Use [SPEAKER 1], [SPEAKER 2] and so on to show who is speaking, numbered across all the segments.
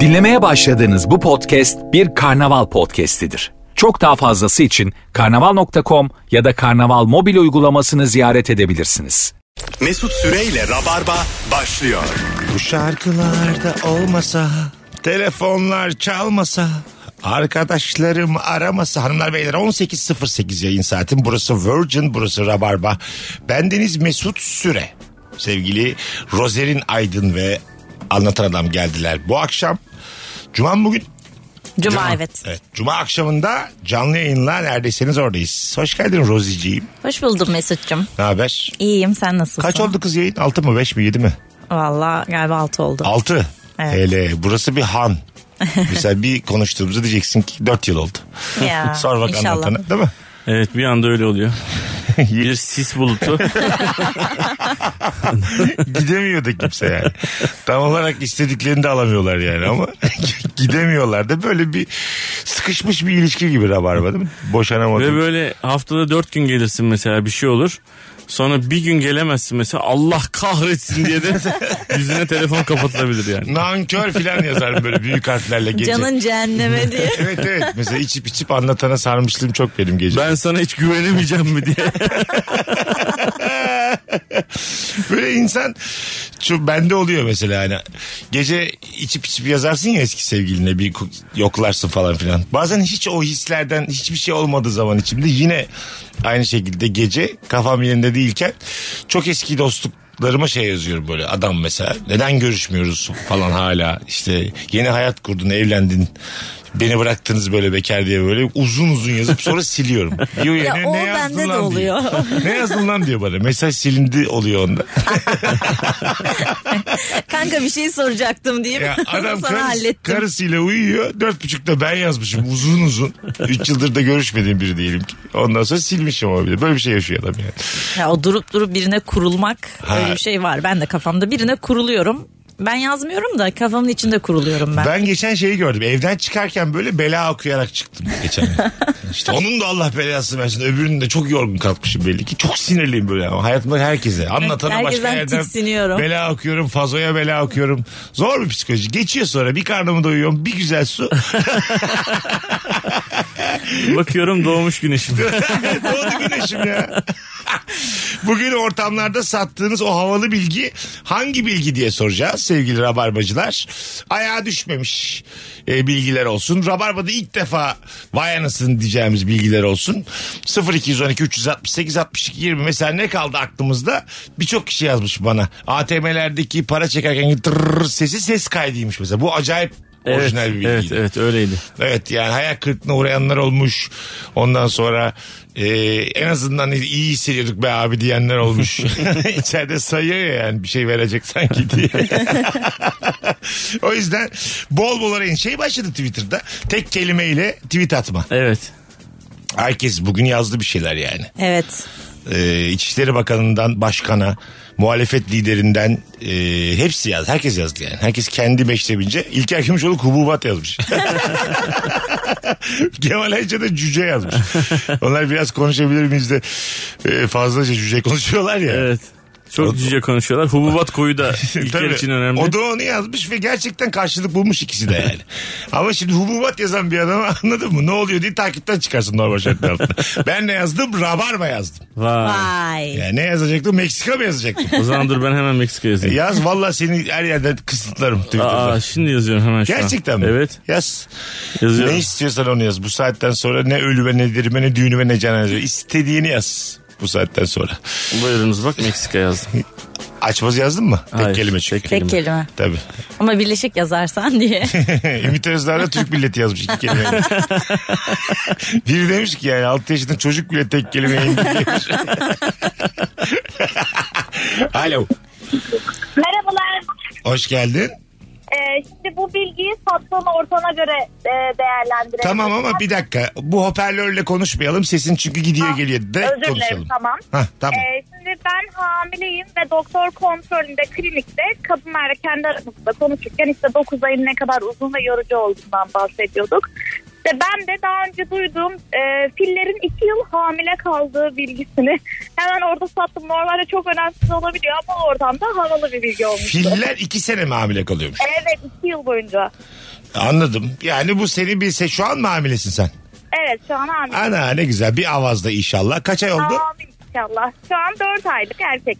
[SPEAKER 1] Dinlemeye başladığınız bu podcast bir karnaval podcastidir. Çok daha fazlası için karnaval.com ya da karnaval mobil uygulamasını ziyaret edebilirsiniz.
[SPEAKER 2] Mesut Süreyle Rabarba başlıyor.
[SPEAKER 3] Bu şarkılarda olmasa, telefonlar çalmasa, arkadaşlarım aramasa. Hanımlar beyler 18.08 yayın saatim. Burası Virgin, burası Rabarba. Bendeniz Mesut Süre. Sevgili Rozerin Aydın ve Anlatan Adam geldiler bu akşam. Cuma mı bugün?
[SPEAKER 4] Cuma, evet.
[SPEAKER 3] Evet. Cuma akşamında canlı yayınla neredeyseniz oradayız. Hoş geldin Roziciğim.
[SPEAKER 4] Hoş buldum Mesut'cum.
[SPEAKER 3] Ne haber?
[SPEAKER 4] İyiyim sen nasılsın?
[SPEAKER 3] Kaç oldu kız yayın? 6 mı 5 mi 7 mi?
[SPEAKER 4] Valla galiba 6 oldu.
[SPEAKER 3] 6.
[SPEAKER 4] Evet.
[SPEAKER 3] Hele burası bir han. Mesela bir konuştuğumuzu diyeceksin ki 4 yıl oldu.
[SPEAKER 4] Ya,
[SPEAKER 3] Sor bak
[SPEAKER 4] inşallah.
[SPEAKER 3] anlatana değil mi?
[SPEAKER 5] Evet bir anda öyle oluyor. bir sis bulutu.
[SPEAKER 3] Gidemiyor da kimse yani. Tam olarak istediklerini de alamıyorlar yani ama gidemiyorlar da böyle bir sıkışmış bir ilişki gibi rabarba değil mi? Boşanamadım.
[SPEAKER 5] Ve böyle haftada dört gün gelirsin mesela bir şey olur. Sonra bir gün gelemezsin mesela Allah kahretsin diye de yüzüne telefon kapatılabilir yani.
[SPEAKER 3] Nankör filan yazarım böyle büyük harflerle gece.
[SPEAKER 4] Canın cehenneme diye.
[SPEAKER 3] Evet evet mesela içip içip anlatana sarmışlığım çok benim gece.
[SPEAKER 5] Ben sana hiç güvenemeyeceğim mi diye.
[SPEAKER 3] Böyle insan şu bende oluyor mesela hani gece içip içip yazarsın ya eski sevgiline bir ku- yoklarsın falan filan. Bazen hiç o hislerden hiçbir şey olmadığı zaman içimde yine aynı şekilde gece kafam yerinde değilken çok eski dostluklarıma şey yazıyorum böyle adam mesela neden görüşmüyoruz falan hala işte yeni hayat kurdun evlendin beni bıraktınız böyle bekar diye böyle uzun uzun yazıp sonra siliyorum. Diyor
[SPEAKER 4] Ya
[SPEAKER 3] yani,
[SPEAKER 4] o
[SPEAKER 3] ne yazdın
[SPEAKER 4] bende de
[SPEAKER 3] lan?" diyor. ne yazdın lan diyor bana. Mesaj silindi oluyor onda.
[SPEAKER 4] Kanka bir şey soracaktım deyip
[SPEAKER 3] Ya adam
[SPEAKER 4] sana
[SPEAKER 3] karıs-
[SPEAKER 4] hallettim.
[SPEAKER 3] karısıyla uyuyor. Dört buçukta ben yazmışım uzun uzun. Üç yıldır da görüşmediğim biri diyelim ki. Ondan sonra silmişim ama bir de. Böyle bir şey yaşıyor adam yani.
[SPEAKER 4] Ya o durup durup birine kurulmak
[SPEAKER 3] Ha.
[SPEAKER 4] öyle bir şey var. Ben de kafamda birine kuruluyorum. Ben yazmıyorum da kafamın içinde kuruluyorum ben.
[SPEAKER 3] Ben geçen şeyi gördüm. Evden çıkarken böyle bela okuyarak çıktım geçen. gün. işte onun da Allah belasını versin. Öbürünün de çok yorgun kalkmışım belli ki. Çok sinirliyim böyle ama hayatımda herkese. Anlatana başka
[SPEAKER 4] Herkesten
[SPEAKER 3] yerden
[SPEAKER 4] tiksiniyorum.
[SPEAKER 3] bela okuyorum. Fazoya bela okuyorum. Zor bir psikoloji. Geçiyor sonra bir karnımı doyuyorum. Bir güzel su.
[SPEAKER 5] Bakıyorum doğmuş güneşim.
[SPEAKER 3] Doğdu güneşim ya. Bugün ortamlarda sattığınız o havalı bilgi hangi bilgi diye soracağız sevgili rabarbacılar. Ayağa düşmemiş e, bilgiler olsun. Rabarbada ilk defa vay anasını diyeceğimiz bilgiler olsun. 0212 368 62 20 mesela ne kaldı aklımızda? Birçok kişi yazmış bana. ATM'lerdeki para çekerken tırrrr sesi ses kaydıymış mesela. Bu acayip
[SPEAKER 5] Evet,
[SPEAKER 3] orijinal bir bilgiydi.
[SPEAKER 5] evet, evet öyleydi.
[SPEAKER 3] Evet yani hayal kırıklığına uğrayanlar olmuş. Ondan sonra e, en azından iyi hissediyorduk be abi diyenler olmuş. İçeride sayıyor ya yani bir şey verecek sanki diye. o yüzden bol bol arayın. Şey başladı Twitter'da tek kelimeyle tweet atma.
[SPEAKER 5] Evet.
[SPEAKER 3] Herkes bugün yazdı bir şeyler yani.
[SPEAKER 4] Evet.
[SPEAKER 3] E, İçişleri Bakanı'ndan başkana muhalefet liderinden e, hepsi yazdı. Herkes yazdı yani. Herkes kendi beşte bince. İlker Gümüşoğlu kububat yazmış. Kemal Ayça da cüce yazmış. Onlar biraz konuşabilir miyiz de e, fazlaca cüce konuşuyorlar ya.
[SPEAKER 5] Evet. Çok cüce konuşuyorlar. Hububat koyu da ilkel
[SPEAKER 3] Tabii.
[SPEAKER 5] için önemli.
[SPEAKER 3] O da onu yazmış ve gerçekten karşılık bulmuş ikisi de yani. Ama şimdi hububat yazan bir adama anladın mı? Ne oluyor diye takipten çıkarsın normal şartlar altında. Ben ne yazdım? Rabarba yazdım.
[SPEAKER 5] Vay.
[SPEAKER 4] Vay.
[SPEAKER 3] Yani ne yazacaktım? Meksika mı yazacaktım?
[SPEAKER 5] O zaman dur ben hemen Meksika yazayım.
[SPEAKER 3] Yaz valla seni her yerden kısıtlarım Twitter'da.
[SPEAKER 5] Aa, şimdi yazıyorum hemen şu an.
[SPEAKER 3] Gerçekten mi?
[SPEAKER 5] Evet
[SPEAKER 3] Yaz.
[SPEAKER 5] yazıyorum.
[SPEAKER 3] Ne istiyorsan onu yaz. Bu saatten sonra ne ölüme ne dirime ne düğünüme ne cenaze. İstediğini yaz. Bu saatten sonra.
[SPEAKER 5] Buyurunuz bak Meksika yazdım.
[SPEAKER 3] Açmaz yazdın mı?
[SPEAKER 5] Hayır,
[SPEAKER 3] tek kelime çünkü.
[SPEAKER 5] tek
[SPEAKER 4] Tek kelime.
[SPEAKER 3] Tabii.
[SPEAKER 4] Ama birleşik yazarsan diye.
[SPEAKER 3] Ümit Özdağ da Türk milleti yazmış iki kelime. Biri demiş ki yani 6 yaşında çocuk bile tek kelime yayınlıyor. Alo.
[SPEAKER 6] Merhabalar.
[SPEAKER 3] Hoş geldin.
[SPEAKER 6] Ee, şimdi bu bilgiyi sattığın ortana göre e, değerlendirelim.
[SPEAKER 3] Tamam ama bir dakika. Bu hoparlörle konuşmayalım. Sesin çünkü gidiyor geliyor. Direkt
[SPEAKER 6] Ah, Özür dilerim
[SPEAKER 3] konuşalım.
[SPEAKER 6] tamam.
[SPEAKER 3] Hah, tamam.
[SPEAKER 6] Ee, şimdi ben hamileyim ve doktor kontrolünde klinikte kadınlarla kendi aramızda konuşurken işte 9 ayın ne kadar uzun ve yorucu olduğundan bahsediyorduk. İşte ben de daha önce duyduğum e, fillerin iki yıl hamile kaldığı bilgisini hemen orada sattım. Normalde çok önemsiz olabiliyor ama oradan da havalı bir bilgi olmuştu.
[SPEAKER 3] Filler iki sene mi hamile kalıyormuş?
[SPEAKER 6] Evet iki yıl boyunca.
[SPEAKER 3] Anladım. Yani bu seni bilse şu an mı hamilesin sen?
[SPEAKER 6] Evet şu an hamile.
[SPEAKER 3] Ana ne güzel bir avazda inşallah. Kaç ay oldu?
[SPEAKER 6] Amin inşallah. Şu an 4 aylık erkek.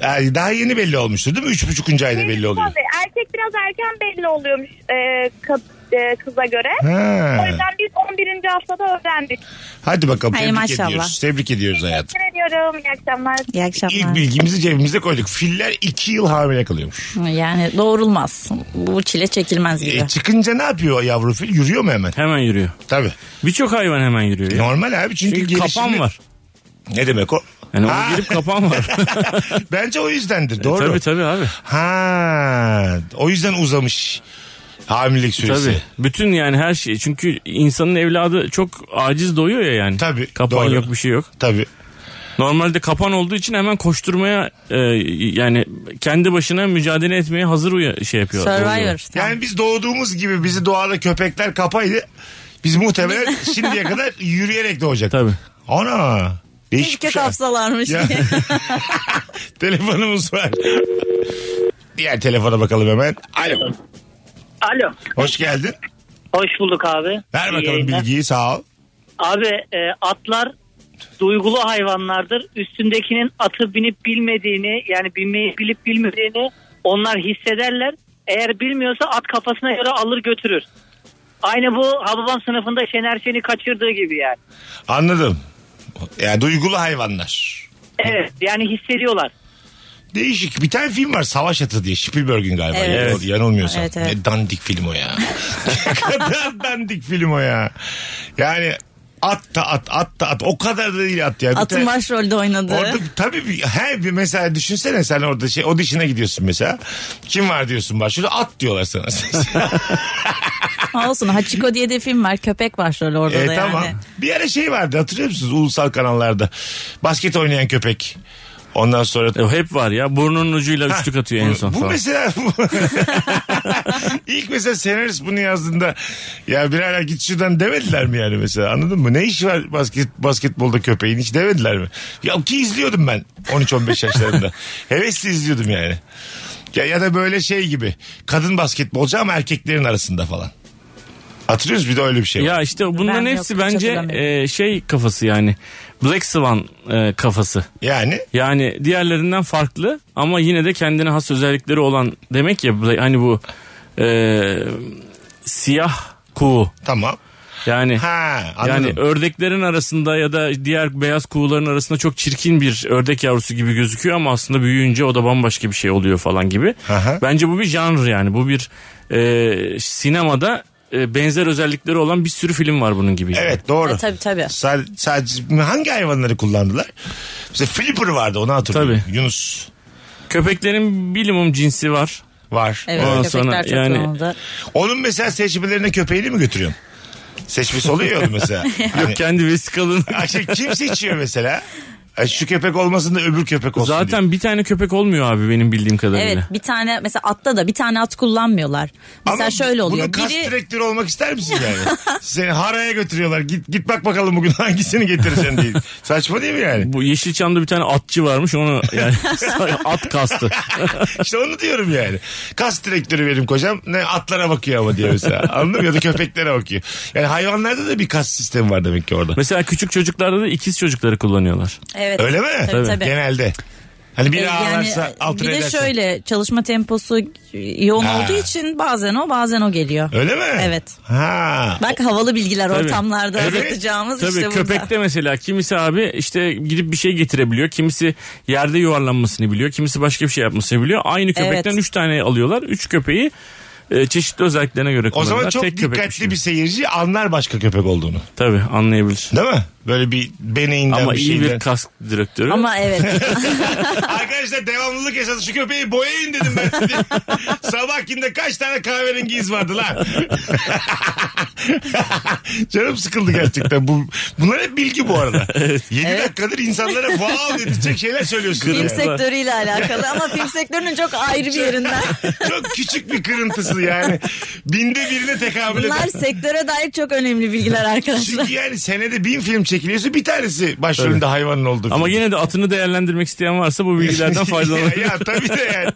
[SPEAKER 3] Ee, Daha yeni belli olmuştur değil mi? Üç buçukuncu ayda belli oluyor.
[SPEAKER 6] Tabii, erkek biraz erken belli oluyormuş e, kad- e, kıza göre.
[SPEAKER 3] Ha.
[SPEAKER 6] O yüzden biz 11. haftada öğrendik.
[SPEAKER 3] Hadi bakalım
[SPEAKER 4] Hay
[SPEAKER 3] tebrik
[SPEAKER 4] maşallah.
[SPEAKER 3] ediyoruz. Tebrik ediyoruz hayatım.
[SPEAKER 6] Teşekkür ediyorum. İyi akşamlar.
[SPEAKER 4] İyi akşamlar.
[SPEAKER 3] İlk bilgimizi cebimize koyduk. Filler iki yıl hamile kalıyormuş.
[SPEAKER 4] Yani doğrulmaz. Bu çile çekilmez gibi.
[SPEAKER 3] E, çıkınca ne yapıyor yavru fil? Yürüyor mu hemen?
[SPEAKER 5] Hemen yürüyor.
[SPEAKER 3] Tabii.
[SPEAKER 5] Birçok hayvan hemen yürüyor. ya.
[SPEAKER 3] Normal abi çünkü,
[SPEAKER 5] Çünkü
[SPEAKER 3] gelişimi-
[SPEAKER 5] kapan E, var.
[SPEAKER 3] Ne demek o?
[SPEAKER 5] Yani
[SPEAKER 3] Ha,
[SPEAKER 5] o girip kapan var.
[SPEAKER 3] Bence o yüzdendir. Doğru.
[SPEAKER 5] E, tabii tabii abi.
[SPEAKER 3] Ha, o yüzden uzamış hamilelik süresi.
[SPEAKER 5] Tabii. Bütün yani her şey. Çünkü insanın evladı çok aciz doyuyor ya yani.
[SPEAKER 3] Tabii,
[SPEAKER 5] Kapan
[SPEAKER 3] doğru.
[SPEAKER 5] yok bir şey yok.
[SPEAKER 3] Tabii.
[SPEAKER 5] Normalde kapan olduğu için hemen koşturmaya e, yani kendi başına mücadele etmeye hazır uya- şey yapıyor.
[SPEAKER 4] Survivor. Tamam.
[SPEAKER 3] Yani biz doğduğumuz gibi bizi doğada köpekler kapaydı. Biz muhtemelen şimdiye kadar yürüyerek doğacak.
[SPEAKER 5] Tabii.
[SPEAKER 3] Ana. Değişik
[SPEAKER 4] Keşke
[SPEAKER 3] bir şey.
[SPEAKER 4] kapsalarmış.
[SPEAKER 3] Ya. Telefonumuz var. Diğer telefona bakalım hemen. Alo.
[SPEAKER 7] Alo.
[SPEAKER 3] Hoş geldin.
[SPEAKER 7] Hoş bulduk abi.
[SPEAKER 3] Ver
[SPEAKER 7] İyi
[SPEAKER 3] bakalım
[SPEAKER 7] yayınlar.
[SPEAKER 3] bilgiyi sağ ol.
[SPEAKER 7] Abi e, atlar duygulu hayvanlardır. Üstündekinin atı binip bilmediğini yani binmeyi bilip bilmediğini onlar hissederler. Eğer bilmiyorsa at kafasına göre alır götürür. Aynı bu Hababam sınıfında Şener Şen'i kaçırdığı gibi yani.
[SPEAKER 3] Anladım. Yani duygulu hayvanlar.
[SPEAKER 7] Evet yani hissediyorlar.
[SPEAKER 3] Değişik. Bir tane film var Savaş Atı diye. Spielberg'in galiba.
[SPEAKER 4] Evet.
[SPEAKER 3] Evet. Yanılmıyorsam.
[SPEAKER 4] Evet, evet.
[SPEAKER 3] Ne dandik film o ya. ne kadar dandik film o ya. Yani at da at, at da at. O kadar da değil at ya. Bir
[SPEAKER 4] Atın
[SPEAKER 3] tane-
[SPEAKER 4] başrolde oynadığı.
[SPEAKER 3] Orada tabii bir, her bir mesela düşünsene sen orada şey o dişine gidiyorsun mesela. Kim var diyorsun başlıyor at diyorlar sana.
[SPEAKER 4] Olsun Hachiko diye de film var. Köpek başrolü orada
[SPEAKER 3] e,
[SPEAKER 4] da
[SPEAKER 3] tamam.
[SPEAKER 4] yani.
[SPEAKER 3] Bir ara şey vardı hatırlıyor musunuz ulusal kanallarda. Basket oynayan köpek. Ondan sonra
[SPEAKER 5] E, hep var ya. Burnunun ucuyla üçlük atıyor en son.
[SPEAKER 3] Bu
[SPEAKER 5] falan.
[SPEAKER 3] mesela ilk mesela senarist bunu yazdığında ya birader git şuradan demediler mi yani mesela anladın mı? Ne işi var basket, basketbolda köpeğin hiç demediler mi? Ya ki izliyordum ben 13-15 yaşlarında. Hevesli izliyordum yani. Ya, ya da böyle şey gibi kadın basketbolcu ama erkeklerin arasında falan. Hatırlıyor musun? Bir de öyle bir şey var.
[SPEAKER 5] Ya işte bunların
[SPEAKER 4] Ben yok,
[SPEAKER 5] hepsi
[SPEAKER 4] hiç
[SPEAKER 5] bence
[SPEAKER 4] hatırlamıyorum.
[SPEAKER 5] e, şey kafası yani. Black Swan e, kafası.
[SPEAKER 3] Yani
[SPEAKER 5] Yani diğerlerinden farklı ama yine de kendine has özellikleri olan demek ya Black- hani bu e, siyah kuğu.
[SPEAKER 3] tamam.
[SPEAKER 5] Yani
[SPEAKER 3] Ha anladım.
[SPEAKER 5] yani ördeklerin arasında ya da diğer beyaz kuğuların arasında çok çirkin bir ördek yavrusu gibi gözüküyor ama aslında büyüyünce o da bambaşka bir şey oluyor falan gibi.
[SPEAKER 3] Aha.
[SPEAKER 5] Bence bu bir janr yani. Bu bir e, sinemada e, benzer özellikleri olan bir sürü film var bunun gibi. yani.
[SPEAKER 3] Evet doğru.
[SPEAKER 4] E, tabii, tabii.
[SPEAKER 3] Sa- sadece hangi hayvanları kullandılar? Mesela flipper vardı onu hatırlıyorum. Yunus
[SPEAKER 5] Köpeklerin minimum cinsi var.
[SPEAKER 3] var.
[SPEAKER 4] Evet
[SPEAKER 5] Ondan
[SPEAKER 4] köpekler
[SPEAKER 5] sonra
[SPEAKER 4] çok
[SPEAKER 5] yani-
[SPEAKER 4] yoğundu.
[SPEAKER 3] Onun mesela seçmelerine köpeğini mi götürüyorsun? Seçmesi oluyor ya onun mesela. Hani,
[SPEAKER 5] Kendi vesikalını.
[SPEAKER 3] Ayşe kim seçiyor mesela? Ay Şu köpek olmasın da öbür köpek olsun diye.
[SPEAKER 5] Zaten bir tane köpek olmuyor abi benim bildiğim kadarıyla.
[SPEAKER 4] Evet bir tane mesela atta da bir tane at kullanmıyorlar. Mesela
[SPEAKER 3] Ama
[SPEAKER 4] şöyle oluyor.
[SPEAKER 3] Bunun kas
[SPEAKER 4] Biri
[SPEAKER 3] direktörü olmak ister misin yani? Seni haraya götürüyorlar. Git git bak bakalım bugün hangisini getireceksin diye. Saçma değil mi yani?
[SPEAKER 5] Bu Yeşilçam'da bir tane atçı varmış onu yani at kastı.
[SPEAKER 3] İşte onu diyorum yani. Kas direktörü benim kocam ne atlara bakıyor ama diye mesela. Anladın mı? Ya da köpeklere bakıyor. Yani hayvanlarda da bir kas sistemi var demek ki orada.
[SPEAKER 5] Mesela küçük çocuklarda da ikiz çocukları kullanıyorlar.
[SPEAKER 4] evet.
[SPEAKER 3] Öyle mi?
[SPEAKER 4] Tabii tabii.
[SPEAKER 3] Genelde. Hani biri
[SPEAKER 4] E,
[SPEAKER 3] ağlarsa
[SPEAKER 4] bir
[SPEAKER 3] altına
[SPEAKER 4] de
[SPEAKER 3] edersin.
[SPEAKER 4] şöyle çalışma temposu yoğun
[SPEAKER 3] Ha.
[SPEAKER 4] olduğu için bazen o bazen o geliyor.
[SPEAKER 3] Öyle mi?
[SPEAKER 4] Evet.
[SPEAKER 3] Ha.
[SPEAKER 4] Bak havalı bilgiler
[SPEAKER 5] Tabii.
[SPEAKER 4] ortamlarda
[SPEAKER 3] Evet.
[SPEAKER 4] anlatacağımız
[SPEAKER 5] Tabii
[SPEAKER 4] işte burada.
[SPEAKER 5] köpekte mesela kimisi abi işte gidip bir şey getirebiliyor. Kimisi yerde yuvarlanmasını biliyor. Kimisi başka bir şey yapmasını biliyor. Aynı köpekten
[SPEAKER 4] Evet.
[SPEAKER 5] üç tane alıyorlar. Üç köpeği e, çeşitli özelliklerine göre
[SPEAKER 3] O
[SPEAKER 5] kullanıyorlar.
[SPEAKER 3] zaman çok
[SPEAKER 5] Tek köpekmiş
[SPEAKER 3] dikkatli
[SPEAKER 5] gibi.
[SPEAKER 3] bir seyirci anlar başka köpek olduğunu.
[SPEAKER 5] Tabii anlayabilir.
[SPEAKER 3] Değil mi? Böyle bir beneğinden
[SPEAKER 5] Ama
[SPEAKER 3] bir
[SPEAKER 5] iyi
[SPEAKER 3] şeyden.
[SPEAKER 5] bir kask direktörü.
[SPEAKER 4] Ama evet.
[SPEAKER 3] Arkadaşlar devamlılık esası şu köpeği boyayın dedim ben size. Sabahkinde kaç tane kahverengi iz vardı lan. Canım sıkıldı gerçekten. Bu, bunlar hep bilgi bu arada. 7 dakikadır insanlara wow dedirtecek şeyler söylüyorsunuz.
[SPEAKER 4] film
[SPEAKER 3] yani.
[SPEAKER 4] sektörüyle alakalı ama film sektörünün çok ayrı bir yerinden.
[SPEAKER 3] Çok küçük bir kırıntısı yani. Binde birine tekabül eder.
[SPEAKER 4] Bunlar sektöre dair çok önemli bilgiler arkadaşlar.
[SPEAKER 3] Çünkü yani senede bin film çekiliyorsa bir tanesi başrolünde hayvanın olduğu
[SPEAKER 5] Ama
[SPEAKER 3] film.
[SPEAKER 5] yine de atını değerlendirmek isteyen varsa bu bilgilerden faydalanır.
[SPEAKER 3] ya, ya tabii de yani.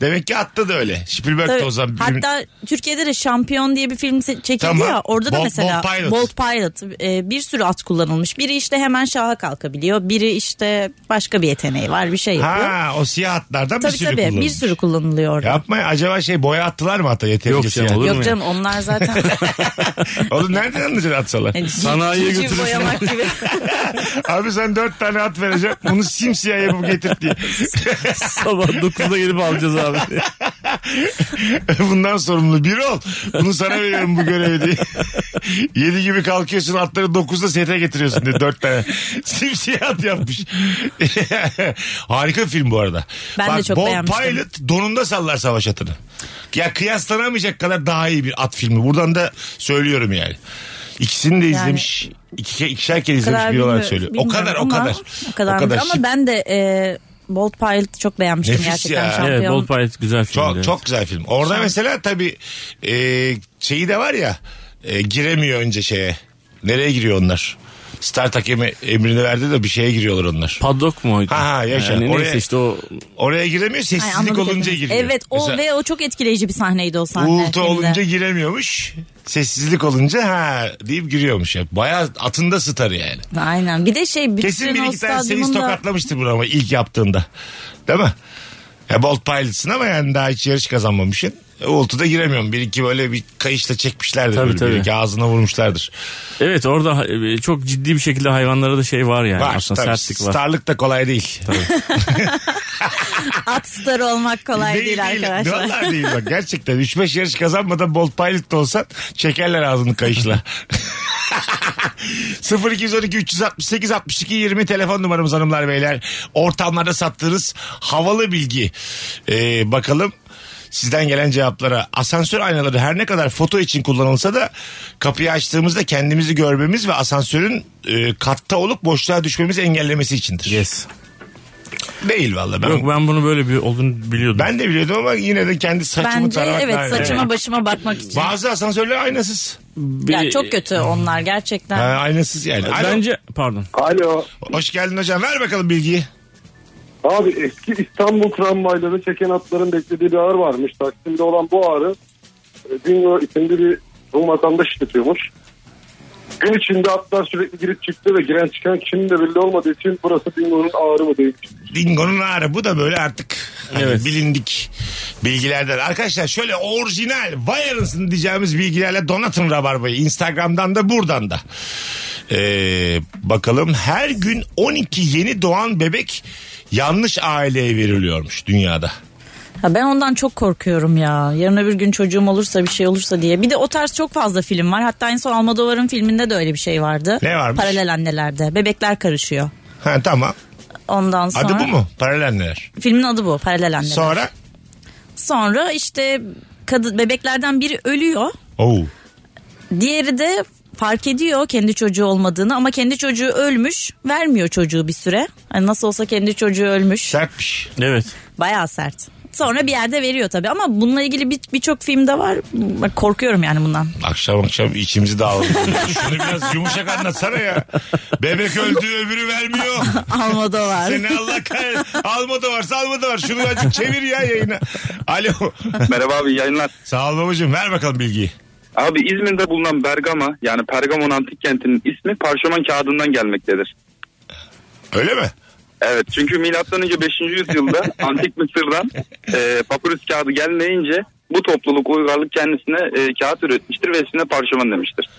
[SPEAKER 3] Demek ki attı da öyle. Spielberg de
[SPEAKER 4] Tabii.
[SPEAKER 3] o zaman. bilim-
[SPEAKER 4] Hatta Türkiye'de de Şampiyon diye bir film se- çekildi
[SPEAKER 3] Tamam.
[SPEAKER 4] ya orada da
[SPEAKER 3] Bolt-
[SPEAKER 4] mesela
[SPEAKER 3] Bolt Pilot.
[SPEAKER 4] Bolt Pilot e, bir sürü at kullanılmış. Biri işte hemen şaha kalkabiliyor. Biri işte başka bir yeteneği var bir şey yapıyor.
[SPEAKER 3] Ha o siyah atlardan bir
[SPEAKER 4] tabii
[SPEAKER 3] sürü
[SPEAKER 4] tabii bir
[SPEAKER 3] kullanılmış.
[SPEAKER 4] sürü kullanılıyor orada.
[SPEAKER 3] Yapma ya, acaba şey boya attılar mı ata
[SPEAKER 5] Yok
[SPEAKER 3] yeterince
[SPEAKER 5] canım,
[SPEAKER 3] siyah?
[SPEAKER 5] olur mu
[SPEAKER 4] Yok
[SPEAKER 5] ya?
[SPEAKER 4] canım onlar zaten
[SPEAKER 3] Oğlum nereden anlayacaksın atsalar?
[SPEAKER 4] yani,
[SPEAKER 5] Sanayiye
[SPEAKER 4] civciv
[SPEAKER 5] götürürsün.
[SPEAKER 4] boyamak gibi.
[SPEAKER 3] Abi sen dört tane at vereceğim. Bunu simsiyah yapıp getir diye.
[SPEAKER 5] Sabah 9'da gelip alacağız abi.
[SPEAKER 3] Bundan sorumlu biri ol. Bunu sana veriyorum bu görevi diye. Yedi gibi kalkıyorsun atları dokuzda sete getiriyorsun diye dört tane. Simsiyah at yapmış. Harika bir film bu arada.
[SPEAKER 4] Ben de çok
[SPEAKER 3] Bob
[SPEAKER 4] beğenmiştim.
[SPEAKER 3] Pilot donunda sallar savaş atını. Ya kıyaslanamayacak kadar daha iyi bir at filmi. Buradan da söylüyorum yani. İkisini de izlemiş. İki, ikişer kere izlemiş
[SPEAKER 4] kadar
[SPEAKER 3] biri olarak
[SPEAKER 4] bilmiyorum,
[SPEAKER 3] söylüyor. O kadar, o
[SPEAKER 4] bilmiyorum ama-
[SPEAKER 3] kadar.
[SPEAKER 4] O kadar. ama
[SPEAKER 3] şık.
[SPEAKER 4] ben de e, Bolt Pilot'ı çok beğenmiştim
[SPEAKER 3] Nefis
[SPEAKER 4] gerçekten
[SPEAKER 3] ya.
[SPEAKER 4] şampiyon.
[SPEAKER 5] evet Bolt Pilot güzel filmdi.
[SPEAKER 3] Çok
[SPEAKER 5] evet.
[SPEAKER 3] çok güzel film. Orada mesela tabii e, şeyi de var ya e, giremiyor önce şeye. Nereye giriyor onlar? Start hakemi emrini verdi de bir şeye giriyorlar onlar.
[SPEAKER 5] Paddock mu oydu?
[SPEAKER 3] Ha, ha, yaşa.
[SPEAKER 5] Yani
[SPEAKER 3] Oraya-
[SPEAKER 5] neyse işte o
[SPEAKER 3] Oraya giremiyor
[SPEAKER 4] Ay,
[SPEAKER 3] sessizlik
[SPEAKER 4] anladık
[SPEAKER 3] olunca
[SPEAKER 4] hepimiz.
[SPEAKER 3] giriyor.
[SPEAKER 4] Evet o
[SPEAKER 3] Mesela
[SPEAKER 4] ve o çok etkileyici bir sahneydi o sahne.
[SPEAKER 3] uğultu
[SPEAKER 4] filmde.
[SPEAKER 3] olunca giremiyormuş. Sessizlik olunca ha deyip giriyormuş. ya. Bayağı atında starı yani.
[SPEAKER 4] Aynen. Bir de şey bütün
[SPEAKER 3] Kesin bir
[SPEAKER 4] o
[SPEAKER 3] iki tane seni
[SPEAKER 4] stadyumun da-
[SPEAKER 3] tokatlamıştı bunu ama ilk yaptığında. Değil mi? Ya Bolt Pilot'sın ama yani daha hiç yarış kazanmamışsın. E, Ultu'da giremiyorum. Bir iki böyle bir kayışla çekmişlerdir.
[SPEAKER 5] Tabii,
[SPEAKER 3] böyle Bir
[SPEAKER 5] tabii.
[SPEAKER 3] iki ağzına vurmuşlardır.
[SPEAKER 5] evet orada e, çok ciddi bir şekilde hayvanlara da şey var yani.
[SPEAKER 3] var.
[SPEAKER 5] Aslında
[SPEAKER 3] tabii.
[SPEAKER 5] sertlik var.
[SPEAKER 3] Starlık da kolay değil.
[SPEAKER 4] At starı olmak kolay değil, arkadaşlar.
[SPEAKER 3] Vallahi değil bak. Gerçekten 3-5 yarış kazanmadan Bolt Pilot da olsan çekerler ağzını kayışla. 0212 368 62 20 telefon numaramız hanımlar beyler. Ortamlarda sattığınız havalı bilgi. Ee, bakalım sizden gelen cevaplara. Asansör aynaları her ne kadar foto için kullanılsa da kapıyı açtığımızda kendimizi görmemiz ve asansörün e, katta olup boşluğa düşmemizi engellemesi içindir.
[SPEAKER 5] Yes.
[SPEAKER 3] Değil vallahi ben.
[SPEAKER 5] Yok ben bunu böyle bir olduğunu biliyordum.
[SPEAKER 3] Ben de biliyordum ama yine de kendi saçımı
[SPEAKER 4] Bence
[SPEAKER 3] taramak daha
[SPEAKER 4] evet
[SPEAKER 3] önemli.
[SPEAKER 4] saçıma başıma bakmak için.
[SPEAKER 3] Bazı asansörler aynasız.
[SPEAKER 5] Bir-
[SPEAKER 4] Ya çok kötü onlar gerçekten.
[SPEAKER 3] Ha, aynasız yani. Alo.
[SPEAKER 5] Bence pardon.
[SPEAKER 8] Alo.
[SPEAKER 3] Hoş geldin hocam. Ver bakalım bilgiyi.
[SPEAKER 8] Abi eski İstanbul tramvayları çeken atların beklediği bir ağır varmış. Taksim'de olan bu ağrı e, gün o içinde bir Rum vatandaş işletiyormuş. Gün içinde atlar sürekli girip çıktı ve giren çıkan kim de belli olmadığı için burası Dingo'nun ağrı mı değil.
[SPEAKER 3] Dingo'nun ağrı. Bu da böyle artık hani
[SPEAKER 5] Evet.
[SPEAKER 3] bilindik bilgilerden. Arkadaşlar şöyle orijinal vay arasın diyeceğimiz bilgilerle donatın rabarbayı. Instagram'dan da buradan da. Ee, bakalım her gün 12 yeni doğan bebek yanlış aileye veriliyormuş dünyada.
[SPEAKER 4] Ha, ben ondan çok korkuyorum ya. Yarın öbür gün çocuğum olursa bir şey olursa diye. Bir de o tarz çok fazla film var. Hatta en son Almodovar'ın filminde de öyle bir şey vardı.
[SPEAKER 3] Ne varmış?
[SPEAKER 4] Paralel annelerde. Bebekler karışıyor.
[SPEAKER 3] Ha tamam.
[SPEAKER 4] Ondan sonra.
[SPEAKER 3] Adı bu mu? Paralel anneler.
[SPEAKER 4] Filmin adı bu. Paralel anneler.
[SPEAKER 3] Sonra?
[SPEAKER 4] Sonra işte kadın bebeklerden biri ölüyor.
[SPEAKER 3] Oo.
[SPEAKER 4] Diğeri de fark ediyor kendi çocuğu olmadığını ama kendi çocuğu ölmüş. Vermiyor çocuğu bir süre. Hani nasıl olsa kendi çocuğu ölmüş.
[SPEAKER 3] Sertmiş.
[SPEAKER 5] Evet.
[SPEAKER 4] Bayağı sert. Sonra bir yerde veriyor tabii ama bununla ilgili bir- birçok filmde var. Bak korkuyorum yani bundan.
[SPEAKER 3] Akşam akşam içimizi dağıldı. Şunu biraz yumuşak anlatsana ya. Bebek öldü öbürü vermiyor.
[SPEAKER 4] Almodovar.
[SPEAKER 3] Seni Allah kahretsin. Alma da varsa alma da var. Şunu azıcık çevir ya yayına. Alo.
[SPEAKER 9] Merhaba abi yayınlar.
[SPEAKER 3] Sağ ol babacığım. Ver bakalım bilgiyi.
[SPEAKER 9] Abi İzmir'de bulunan Bergama yani Pergamon antik kentinin ismi parşömen kağıdından gelmektedir.
[SPEAKER 3] Öyle mi?
[SPEAKER 9] Evet çünkü milattan önce 5. yüzyılda antik Mısır'dan e, papyrus kağıdı gelmeyince bu topluluk uygarlık kendisine e, kağıt üretmiştir ve ismine parşömen demiştir.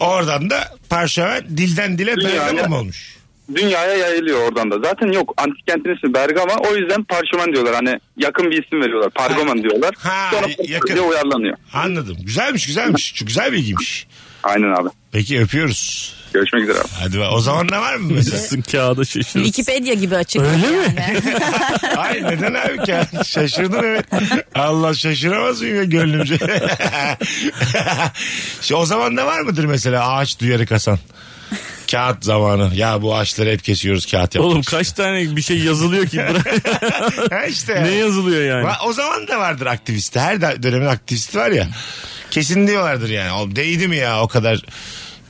[SPEAKER 3] Oradan da parşömen dilden dile
[SPEAKER 9] Dünyaya-
[SPEAKER 3] dayanamam olmuş.
[SPEAKER 9] Dünyaya yayılıyor oradan da. Zaten yok antik kentin ismi Bergama o yüzden parşömen diyorlar. Hani yakın bir isim veriyorlar. Pergamon diyorlar.
[SPEAKER 3] Ha,
[SPEAKER 9] Sonra
[SPEAKER 3] yakın.
[SPEAKER 9] yakın. uyarlanıyor.
[SPEAKER 3] Anladım. Güzelmiş güzelmiş. Çok güzel bilgiymiş.
[SPEAKER 9] Aynen abi.
[SPEAKER 3] Peki öpüyoruz.
[SPEAKER 9] Görüşmek üzere abi.
[SPEAKER 3] Hadi be. O zaman ne var mı mesela?
[SPEAKER 5] Sizin kağıda şaşırırsın.
[SPEAKER 4] Wikipedia gibi açık.
[SPEAKER 5] Öyle mi?
[SPEAKER 3] Hayır neden abi ki? Şaşırdım evet. Allah şaşıramaz mıyım ya gönlümce? Şu, o zaman ne var mıdır mesela ağaç duyarı kasan? Kağıt zamanı. Ya bu ağaçları hep kesiyoruz kağıt yapıyoruz.
[SPEAKER 5] Oğlum kaç tane bir şey yazılıyor ki? Bırak-
[SPEAKER 3] Ha işte.
[SPEAKER 5] ne yazılıyor yani?
[SPEAKER 3] Va- O zaman da vardır aktivist. Her da- dönemin aktivisti var ya. Kesin diyorlardır yani. Oğlum değdi mi ya o kadar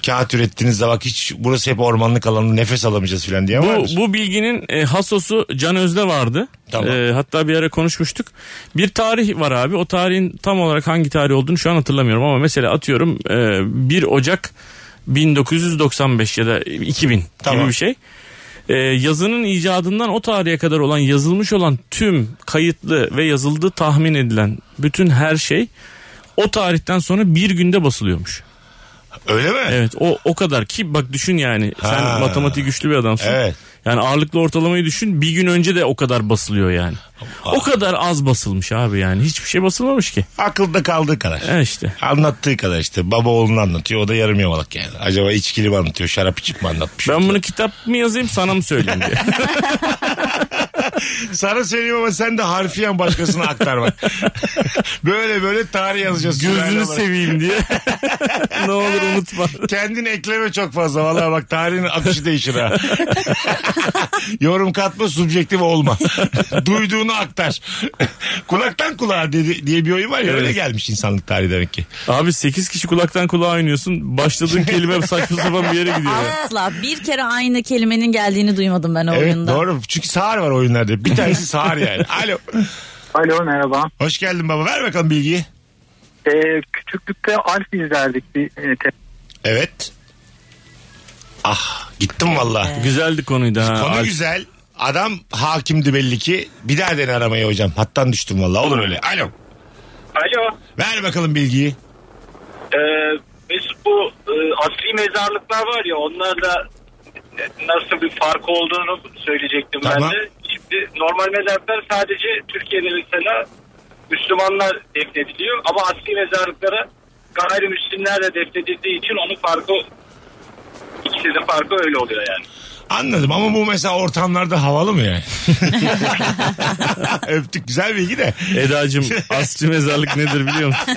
[SPEAKER 3] kağıt ürettiğiniz de bak hiç burası hep ormanlık alanı nefes alamayacağız falan diye
[SPEAKER 5] Bu,
[SPEAKER 3] vardır.
[SPEAKER 5] bu bilginin e, hasosu Can Özde vardı.
[SPEAKER 3] Tamam.
[SPEAKER 5] E, hatta bir ara konuşmuştuk. Bir tarih var abi. O tarihin tam olarak hangi tarih olduğunu şu an hatırlamıyorum ama mesela atıyorum e, 1 Ocak 1995 ya da 2000
[SPEAKER 3] Tamam.
[SPEAKER 5] gibi bir şey. E, yazının icadından o tarihe kadar olan yazılmış olan tüm kayıtlı ve yazıldığı tahmin edilen bütün her şey o tarihten sonra bir günde basılıyormuş.
[SPEAKER 3] Öyle mi?
[SPEAKER 5] Evet o o kadar ki bak düşün yani
[SPEAKER 3] Ha.
[SPEAKER 5] sen matematik güçlü bir adamsın.
[SPEAKER 3] Evet.
[SPEAKER 5] Yani ağırlıklı ortalamayı düşün bir gün önce de o kadar basılıyor yani. O kadar az basılmış abi yani hiçbir şey basılmamış ki.
[SPEAKER 3] Akılda kaldığı kadar.
[SPEAKER 5] E işte.
[SPEAKER 3] Anlattığı kadar işte. Baba oğlunu anlatıyor. O da yarım yamalak yani. Acaba içkili mi anlatıyor? Şarap içip mi anlatmış?
[SPEAKER 5] Ben bunu kitap mı yazayım sana mı söyleyeyim diye.
[SPEAKER 3] Sana söyleyeyim ama sen de harfiyen başkasına aktar bak. böyle böyle tarih yazacağız.
[SPEAKER 5] Gözünü
[SPEAKER 3] Sülale olarak.
[SPEAKER 5] seveyim diye. ne olur unutma.
[SPEAKER 3] Kendini ekleme çok fazla. Vallahi bak tarihin akışı değişir ha. Yorum katma subjektif olma. Duyduğunu aktar. Kulaktan kulağa dedi, diye bir oyun var ya öyle
[SPEAKER 5] Evet.
[SPEAKER 3] gelmiş insanlık tarihi demek ki.
[SPEAKER 5] Abi 8 kişi kulaktan kulağa oynuyorsun. Başladığın kelime saçma sapan bir yere gidiyor. ya.
[SPEAKER 4] Asla bir kere aynı kelimenin geldiğini duymadım ben o
[SPEAKER 3] Evet
[SPEAKER 4] oyunda.
[SPEAKER 3] doğru çünkü sağır var oyunlarda. Bir tanesi sağır yani. Alo.
[SPEAKER 9] Alo merhaba.
[SPEAKER 3] Hoş geldin baba ver bakalım bilgiyi.
[SPEAKER 9] Ee, küçüklükte Alf izlerdik bir e, te-
[SPEAKER 3] Evet. Ah gittim valla.
[SPEAKER 5] Güzeldi konuydu ha.
[SPEAKER 3] Konu
[SPEAKER 5] Alp.
[SPEAKER 3] güzel. Adam hakimdi belli ki. Bir daha dene aramayı hocam. Hattan düştüm valla. Olur öyle. Alo.
[SPEAKER 9] Alo.
[SPEAKER 3] Ver bakalım bilgiyi.
[SPEAKER 9] E, Mesut bu e, asri mezarlıklar var ya onlarda nasıl bir farkı olduğunu söyleyecektim
[SPEAKER 3] Tamam.
[SPEAKER 9] ben de. Şimdi normal mezarlıklar sadece Türkiye'de mesela Müslümanlar defnediliyor ama asri mezarlıklara gayrimüslimler de defnedildiği için onun farkı ikisinin farkı öyle oluyor yani.
[SPEAKER 3] Anladım ama bu mesela ortamlarda havalı mı yani? Öptük güzel bilgi de.
[SPEAKER 5] Eda'cığım asçı mezarlık nedir biliyor musun?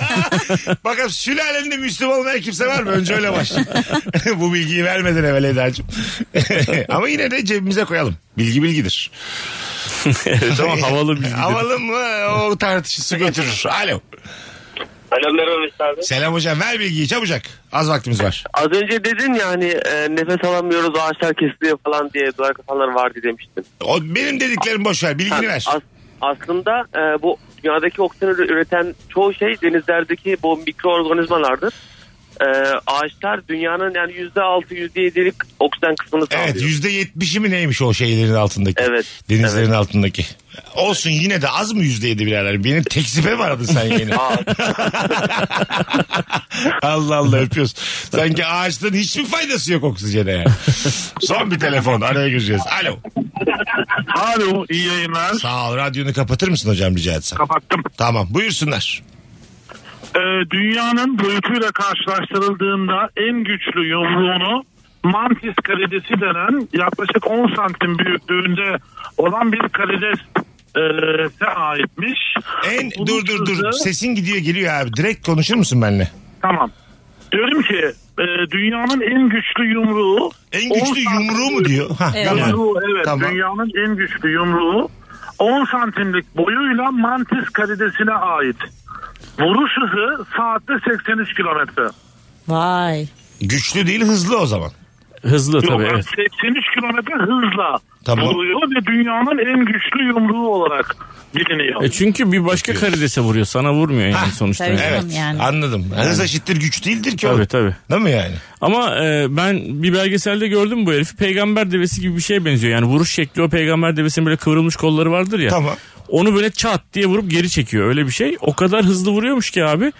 [SPEAKER 3] Bakalım sülalende Müslüman olmayan kimse var mı? Önce öyle başlayalım. bu bilgiyi vermeden evvel Eda'cığım. ama yine de cebimize koyalım. Bilgi bilgidir.
[SPEAKER 5] evet ama havalı bir
[SPEAKER 3] Havalı mı o tartışısı götürür. Alo.
[SPEAKER 9] Alo merhaba Mesut abi.
[SPEAKER 3] Selam hocam ver bilgiyi çabucak. Az vaktimiz var.
[SPEAKER 9] Az önce dedin ya hani nefes alamıyoruz ağaçlar kesiliyor falan diye duvar kapanlar vardı demiştin.
[SPEAKER 3] O, benim dediklerim boş ver bilgini ver.
[SPEAKER 9] As- aslında e, bu dünyadaki oksijeni üreten çoğu şey denizlerdeki bu mikroorganizmalardır. E, ağaçlar dünyanın yani yüzde altı yüzde yedilik oksijen kısmını sağlıyor.
[SPEAKER 3] Evet yüzde yetmişi mi neymiş o şeylerin altındaki?
[SPEAKER 9] Evet.
[SPEAKER 3] Denizlerin altındaki. Olsun yine de az mı yüzde yedi birader? Beni tekzibe mi aradın sen yine?
[SPEAKER 9] Aa,
[SPEAKER 3] Allah Allah öpüyoruz. Sanki ağaçtan hiçbir faydası yok oksijene yani. Son bir telefon araya gireceğiz. Alo.
[SPEAKER 9] Alo iyi yayınlar.
[SPEAKER 3] Sağ ol radyonu kapatır mısın hocam rica etsem?
[SPEAKER 9] Kapattım.
[SPEAKER 3] Tamam buyursunlar.
[SPEAKER 9] Ee, dünyanın boyutuyla karşılaştırıldığında en güçlü yumruğunu mantis karidesi denen yaklaşık 10 santim büyüklüğünde olan bir karides e, se aitmiş.
[SPEAKER 3] En
[SPEAKER 9] Bunun
[SPEAKER 3] dur dur dur
[SPEAKER 9] sözü-
[SPEAKER 3] sesin gidiyor geliyor abi. Direkt konuşur musun benimle?
[SPEAKER 9] Tamam. Diyorum ki e, dünyanın en güçlü yumruğu
[SPEAKER 3] En güçlü
[SPEAKER 9] 10 santim
[SPEAKER 3] yumruğu mu diyor? Ha,
[SPEAKER 4] Evet.
[SPEAKER 3] tamam.
[SPEAKER 9] Yumruğu evet
[SPEAKER 3] Tamam.
[SPEAKER 9] dünyanın en güçlü yumruğu 10 santimlik boyuyla mantis karidesine ait. Vuruş hızı saatte 83 kilometre.
[SPEAKER 4] Vay.
[SPEAKER 3] Güçlü değil hızlı o zaman.
[SPEAKER 5] Hızlı
[SPEAKER 9] Yok,
[SPEAKER 5] tabii evet.
[SPEAKER 9] 83 kilometre hızla
[SPEAKER 3] Tamam.
[SPEAKER 9] vuruyor ve dünyanın en güçlü yumruğu olarak biliniyor.
[SPEAKER 5] E çünkü bir başka karidese vuruyor. Sana vurmuyor yani sonuçta.
[SPEAKER 4] Tabii.
[SPEAKER 5] yani.
[SPEAKER 3] Evet
[SPEAKER 4] Tamam yani.
[SPEAKER 3] anladım. Hız eşittir güç değildir ki o.
[SPEAKER 5] Tabii tabii.
[SPEAKER 3] Değil mi yani?
[SPEAKER 5] Ama e, ben bir belgeselde gördüm bu herifi. Peygamber devesi gibi bir şeye benziyor. Yani vuruş şekli o peygamber devesinin böyle kıvrılmış kolları vardır ya.
[SPEAKER 3] Tamam.
[SPEAKER 5] Onu böyle çat diye vurup geri çekiyor. Öyle bir şey. O kadar hızlı vuruyormuş ki abi.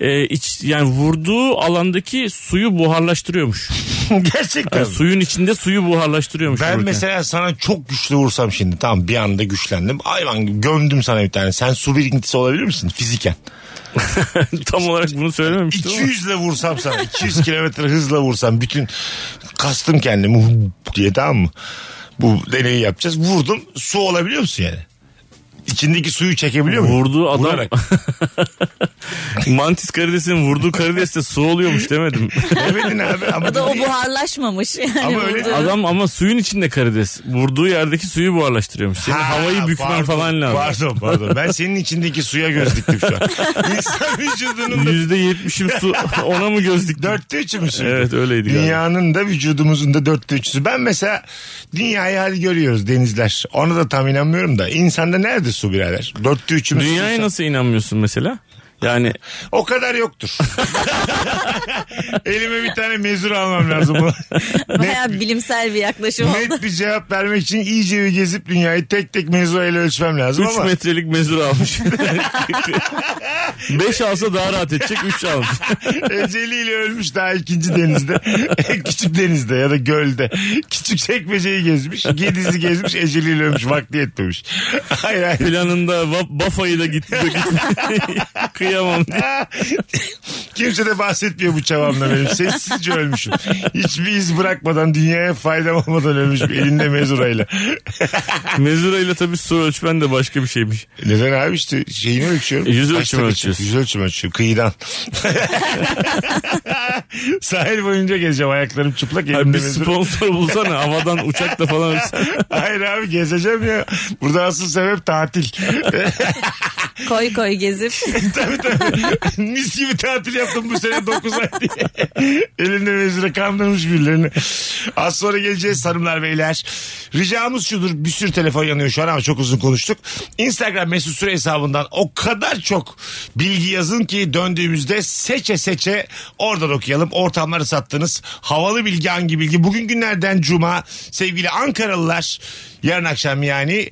[SPEAKER 5] E, iç, yani vurduğu alandaki suyu buharlaştırıyormuş.
[SPEAKER 3] Gerçekten.
[SPEAKER 5] Yani suyun içinde suyu buharlaştırıyormuş.
[SPEAKER 3] Ben
[SPEAKER 5] vururken.
[SPEAKER 3] mesela sana çok güçlü vursam şimdi tamam bir anda güçlendim. Hayvan gibi gömdüm sana bir tane. Sen su birikintisi olabilir misin fiziken?
[SPEAKER 5] tam olarak bunu söylememiştim ama.
[SPEAKER 3] 200 ile vursam sana 200 kilometre hızla vursam bütün kastım kendimi hu- diye tamam mı? Bu deneyi yapacağız. Vurdum su olabiliyor musun yani? İçindeki suyu çekebiliyor muyum?
[SPEAKER 5] Vurduğu adam-
[SPEAKER 3] Vurarak.
[SPEAKER 5] Mantis karidesinin vurduğu karideste su oluyormuş demedim.
[SPEAKER 3] Demedin abi. Ama
[SPEAKER 4] Ya da o
[SPEAKER 3] dedi ya.
[SPEAKER 4] buharlaşmamış yani.
[SPEAKER 3] Ama öyle-
[SPEAKER 4] vurdu.
[SPEAKER 5] Adam ama suyun içinde karides. Vurduğu yerdeki suyu buharlaştırıyormuş. Senin
[SPEAKER 3] Ha,
[SPEAKER 5] havayı bükmen
[SPEAKER 3] pardon,
[SPEAKER 5] falan lazım.
[SPEAKER 3] Pardon pardon. Ben senin içindeki suya göz diktim şu an. İnsan vücudunun da
[SPEAKER 5] Yüzde yetmişim su ona mı gözlük?
[SPEAKER 3] dörtte üçü mü suyu?
[SPEAKER 5] Evet öyleydi galiba.
[SPEAKER 3] Dünyanın da vücudumuzun da dörtte üçüsü. Ben mesela dünyayı hadi görüyoruz denizler. Ona da tam inanmıyorum da. İnsanda nerede su birader? Dörtte üçümüz.
[SPEAKER 5] Dünyaya nasıl inanmıyorsun mesela? Yani
[SPEAKER 3] O kadar yoktur. Elime bir tane mezur almam lazım.
[SPEAKER 4] Bayağı bilimsel bir yaklaşım oldu.
[SPEAKER 3] Net bir cevap vermek için iyice bir gezip dünyayı tek tek mezurayla ölçmem lazım
[SPEAKER 5] 3
[SPEAKER 3] ama.
[SPEAKER 5] metrelik mezur almış. 5 alsa daha rahat edecek 3 almış.
[SPEAKER 3] Eceliyle ölmüş daha ikinci denizde. Küçük denizde ya da gölde. Küçük çekmeceyi gezmiş. Gediz'i gezmiş. Eceliyle ölmüş. Vakti yetmemiş. Hayır hayır.
[SPEAKER 5] Planında va- Bafa'yı da gitti. gitti. Kıyamam diye.
[SPEAKER 3] Kimse de bahsetmiyor bu çavamla benim. Sessizce ölmüşüm. Hiçbir iz bırakmadan dünyaya faydam olmadan ölmüşüm. Elinde mezurayla.
[SPEAKER 5] Mezurayla tabii su ölçmen de başka bir şeymiş.
[SPEAKER 3] Neden abi işte şeyini ölçüyorum.
[SPEAKER 5] E, yüz
[SPEAKER 3] Taşla
[SPEAKER 5] ölçümü
[SPEAKER 3] kaçıyorum.
[SPEAKER 5] ölçüyorsun.
[SPEAKER 3] Yüz ölçümü ölçüyorum. Kıyıdan. Sahil boyunca gezeceğim. Ayaklarım çıplak.
[SPEAKER 5] Hayır,
[SPEAKER 3] Elimde
[SPEAKER 5] bir
[SPEAKER 3] mezura.
[SPEAKER 5] sponsor bulsana havadan uçakla falan ölçsen.
[SPEAKER 3] Hayır abi gezeceğim ya. Burada asıl sebep tatil.
[SPEAKER 4] Koy koy gezip.
[SPEAKER 3] tabii tabii. Mis gibi tatil yaptım bu sene 9 ay diye. Elimde mezire kandırmış birilerini. Az sonra geleceğiz sarımlar beyler. Ricamız şudur. Bir sürü telefon yanıyor şu an ama çok uzun konuştuk. Instagram mesut süre hesabından o kadar çok bilgi yazın ki döndüğümüzde seçe seçe oradan okuyalım. Ortamları sattınız. Havalı bilgi hangi bilgi? Bugün günlerden cuma. Sevgili Ankaralılar yarın akşam yani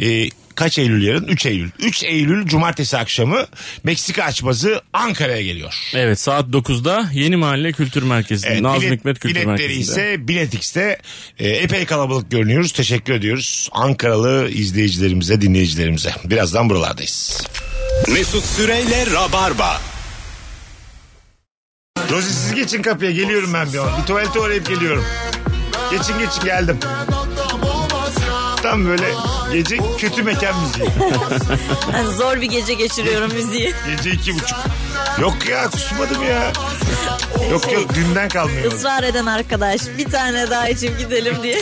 [SPEAKER 3] e, kaç Eylül yarın? 3 Eylül. 3 Eylül cumartesi akşamı Meksika açması Ankara'ya geliyor.
[SPEAKER 5] Evet saat 9'da Yeni Mahalle Kültür Merkezi'nde.
[SPEAKER 3] Evet,
[SPEAKER 5] Nazım
[SPEAKER 3] bilet-
[SPEAKER 5] Hikmet Kültür
[SPEAKER 3] biletleri
[SPEAKER 5] Merkezi'nde.
[SPEAKER 3] ise Bilet X'te. E, epey kalabalık görünüyoruz. Teşekkür ediyoruz Ankaralı izleyicilerimize, dinleyicilerimize. Birazdan buralardayız.
[SPEAKER 2] Mesut Süreyle Rabarba.
[SPEAKER 3] Rozi siz geçin kapıya geliyorum ben bir an. Bir tuvalete uğrayıp geliyorum. Geçin geçin geldim. Tam böyle gece kötü mekan müziği.
[SPEAKER 4] Yani zor bir gece geçiriyorum müziği.
[SPEAKER 3] Gece iki buçuk. Yok ya kusmadım ya. Yok yok dünden kalmıyor.
[SPEAKER 4] Israr eden arkadaş bir tane daha içip gidelim diye.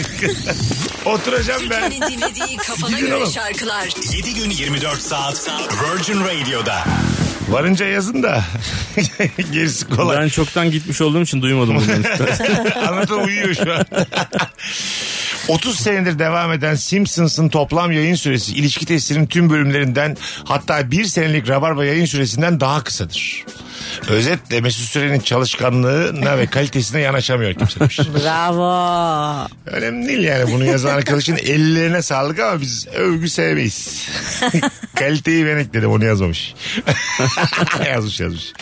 [SPEAKER 3] Oturacağım ben.
[SPEAKER 4] dinlediği kafana
[SPEAKER 3] Gidin göre oğlum.
[SPEAKER 4] şarkılar.
[SPEAKER 2] 7 gün 24 saat Virgin Radio'da.
[SPEAKER 3] Varınca yazın da gerisi kolay.
[SPEAKER 5] Ben çoktan gitmiş olduğum için duymadım bunu.
[SPEAKER 3] Anlatan uyuyor şu an. 30 senedir devam eden Simpsons'ın toplam yayın süresi ilişki testinin tüm bölümlerinden hatta bir senelik Rabarba yayın süresinden daha kısadır. Özetle Mesut Süren'in çalışkanlığına ve kalitesine yanaşamıyor kimse demiş.
[SPEAKER 4] Bravo.
[SPEAKER 3] Önemli değil yani bunu yazan arkadaşın ellerine sağlık ama biz övgü sevmeyiz. Kaliteyi ben ekledim onu yazmamış. yazmış yazmış.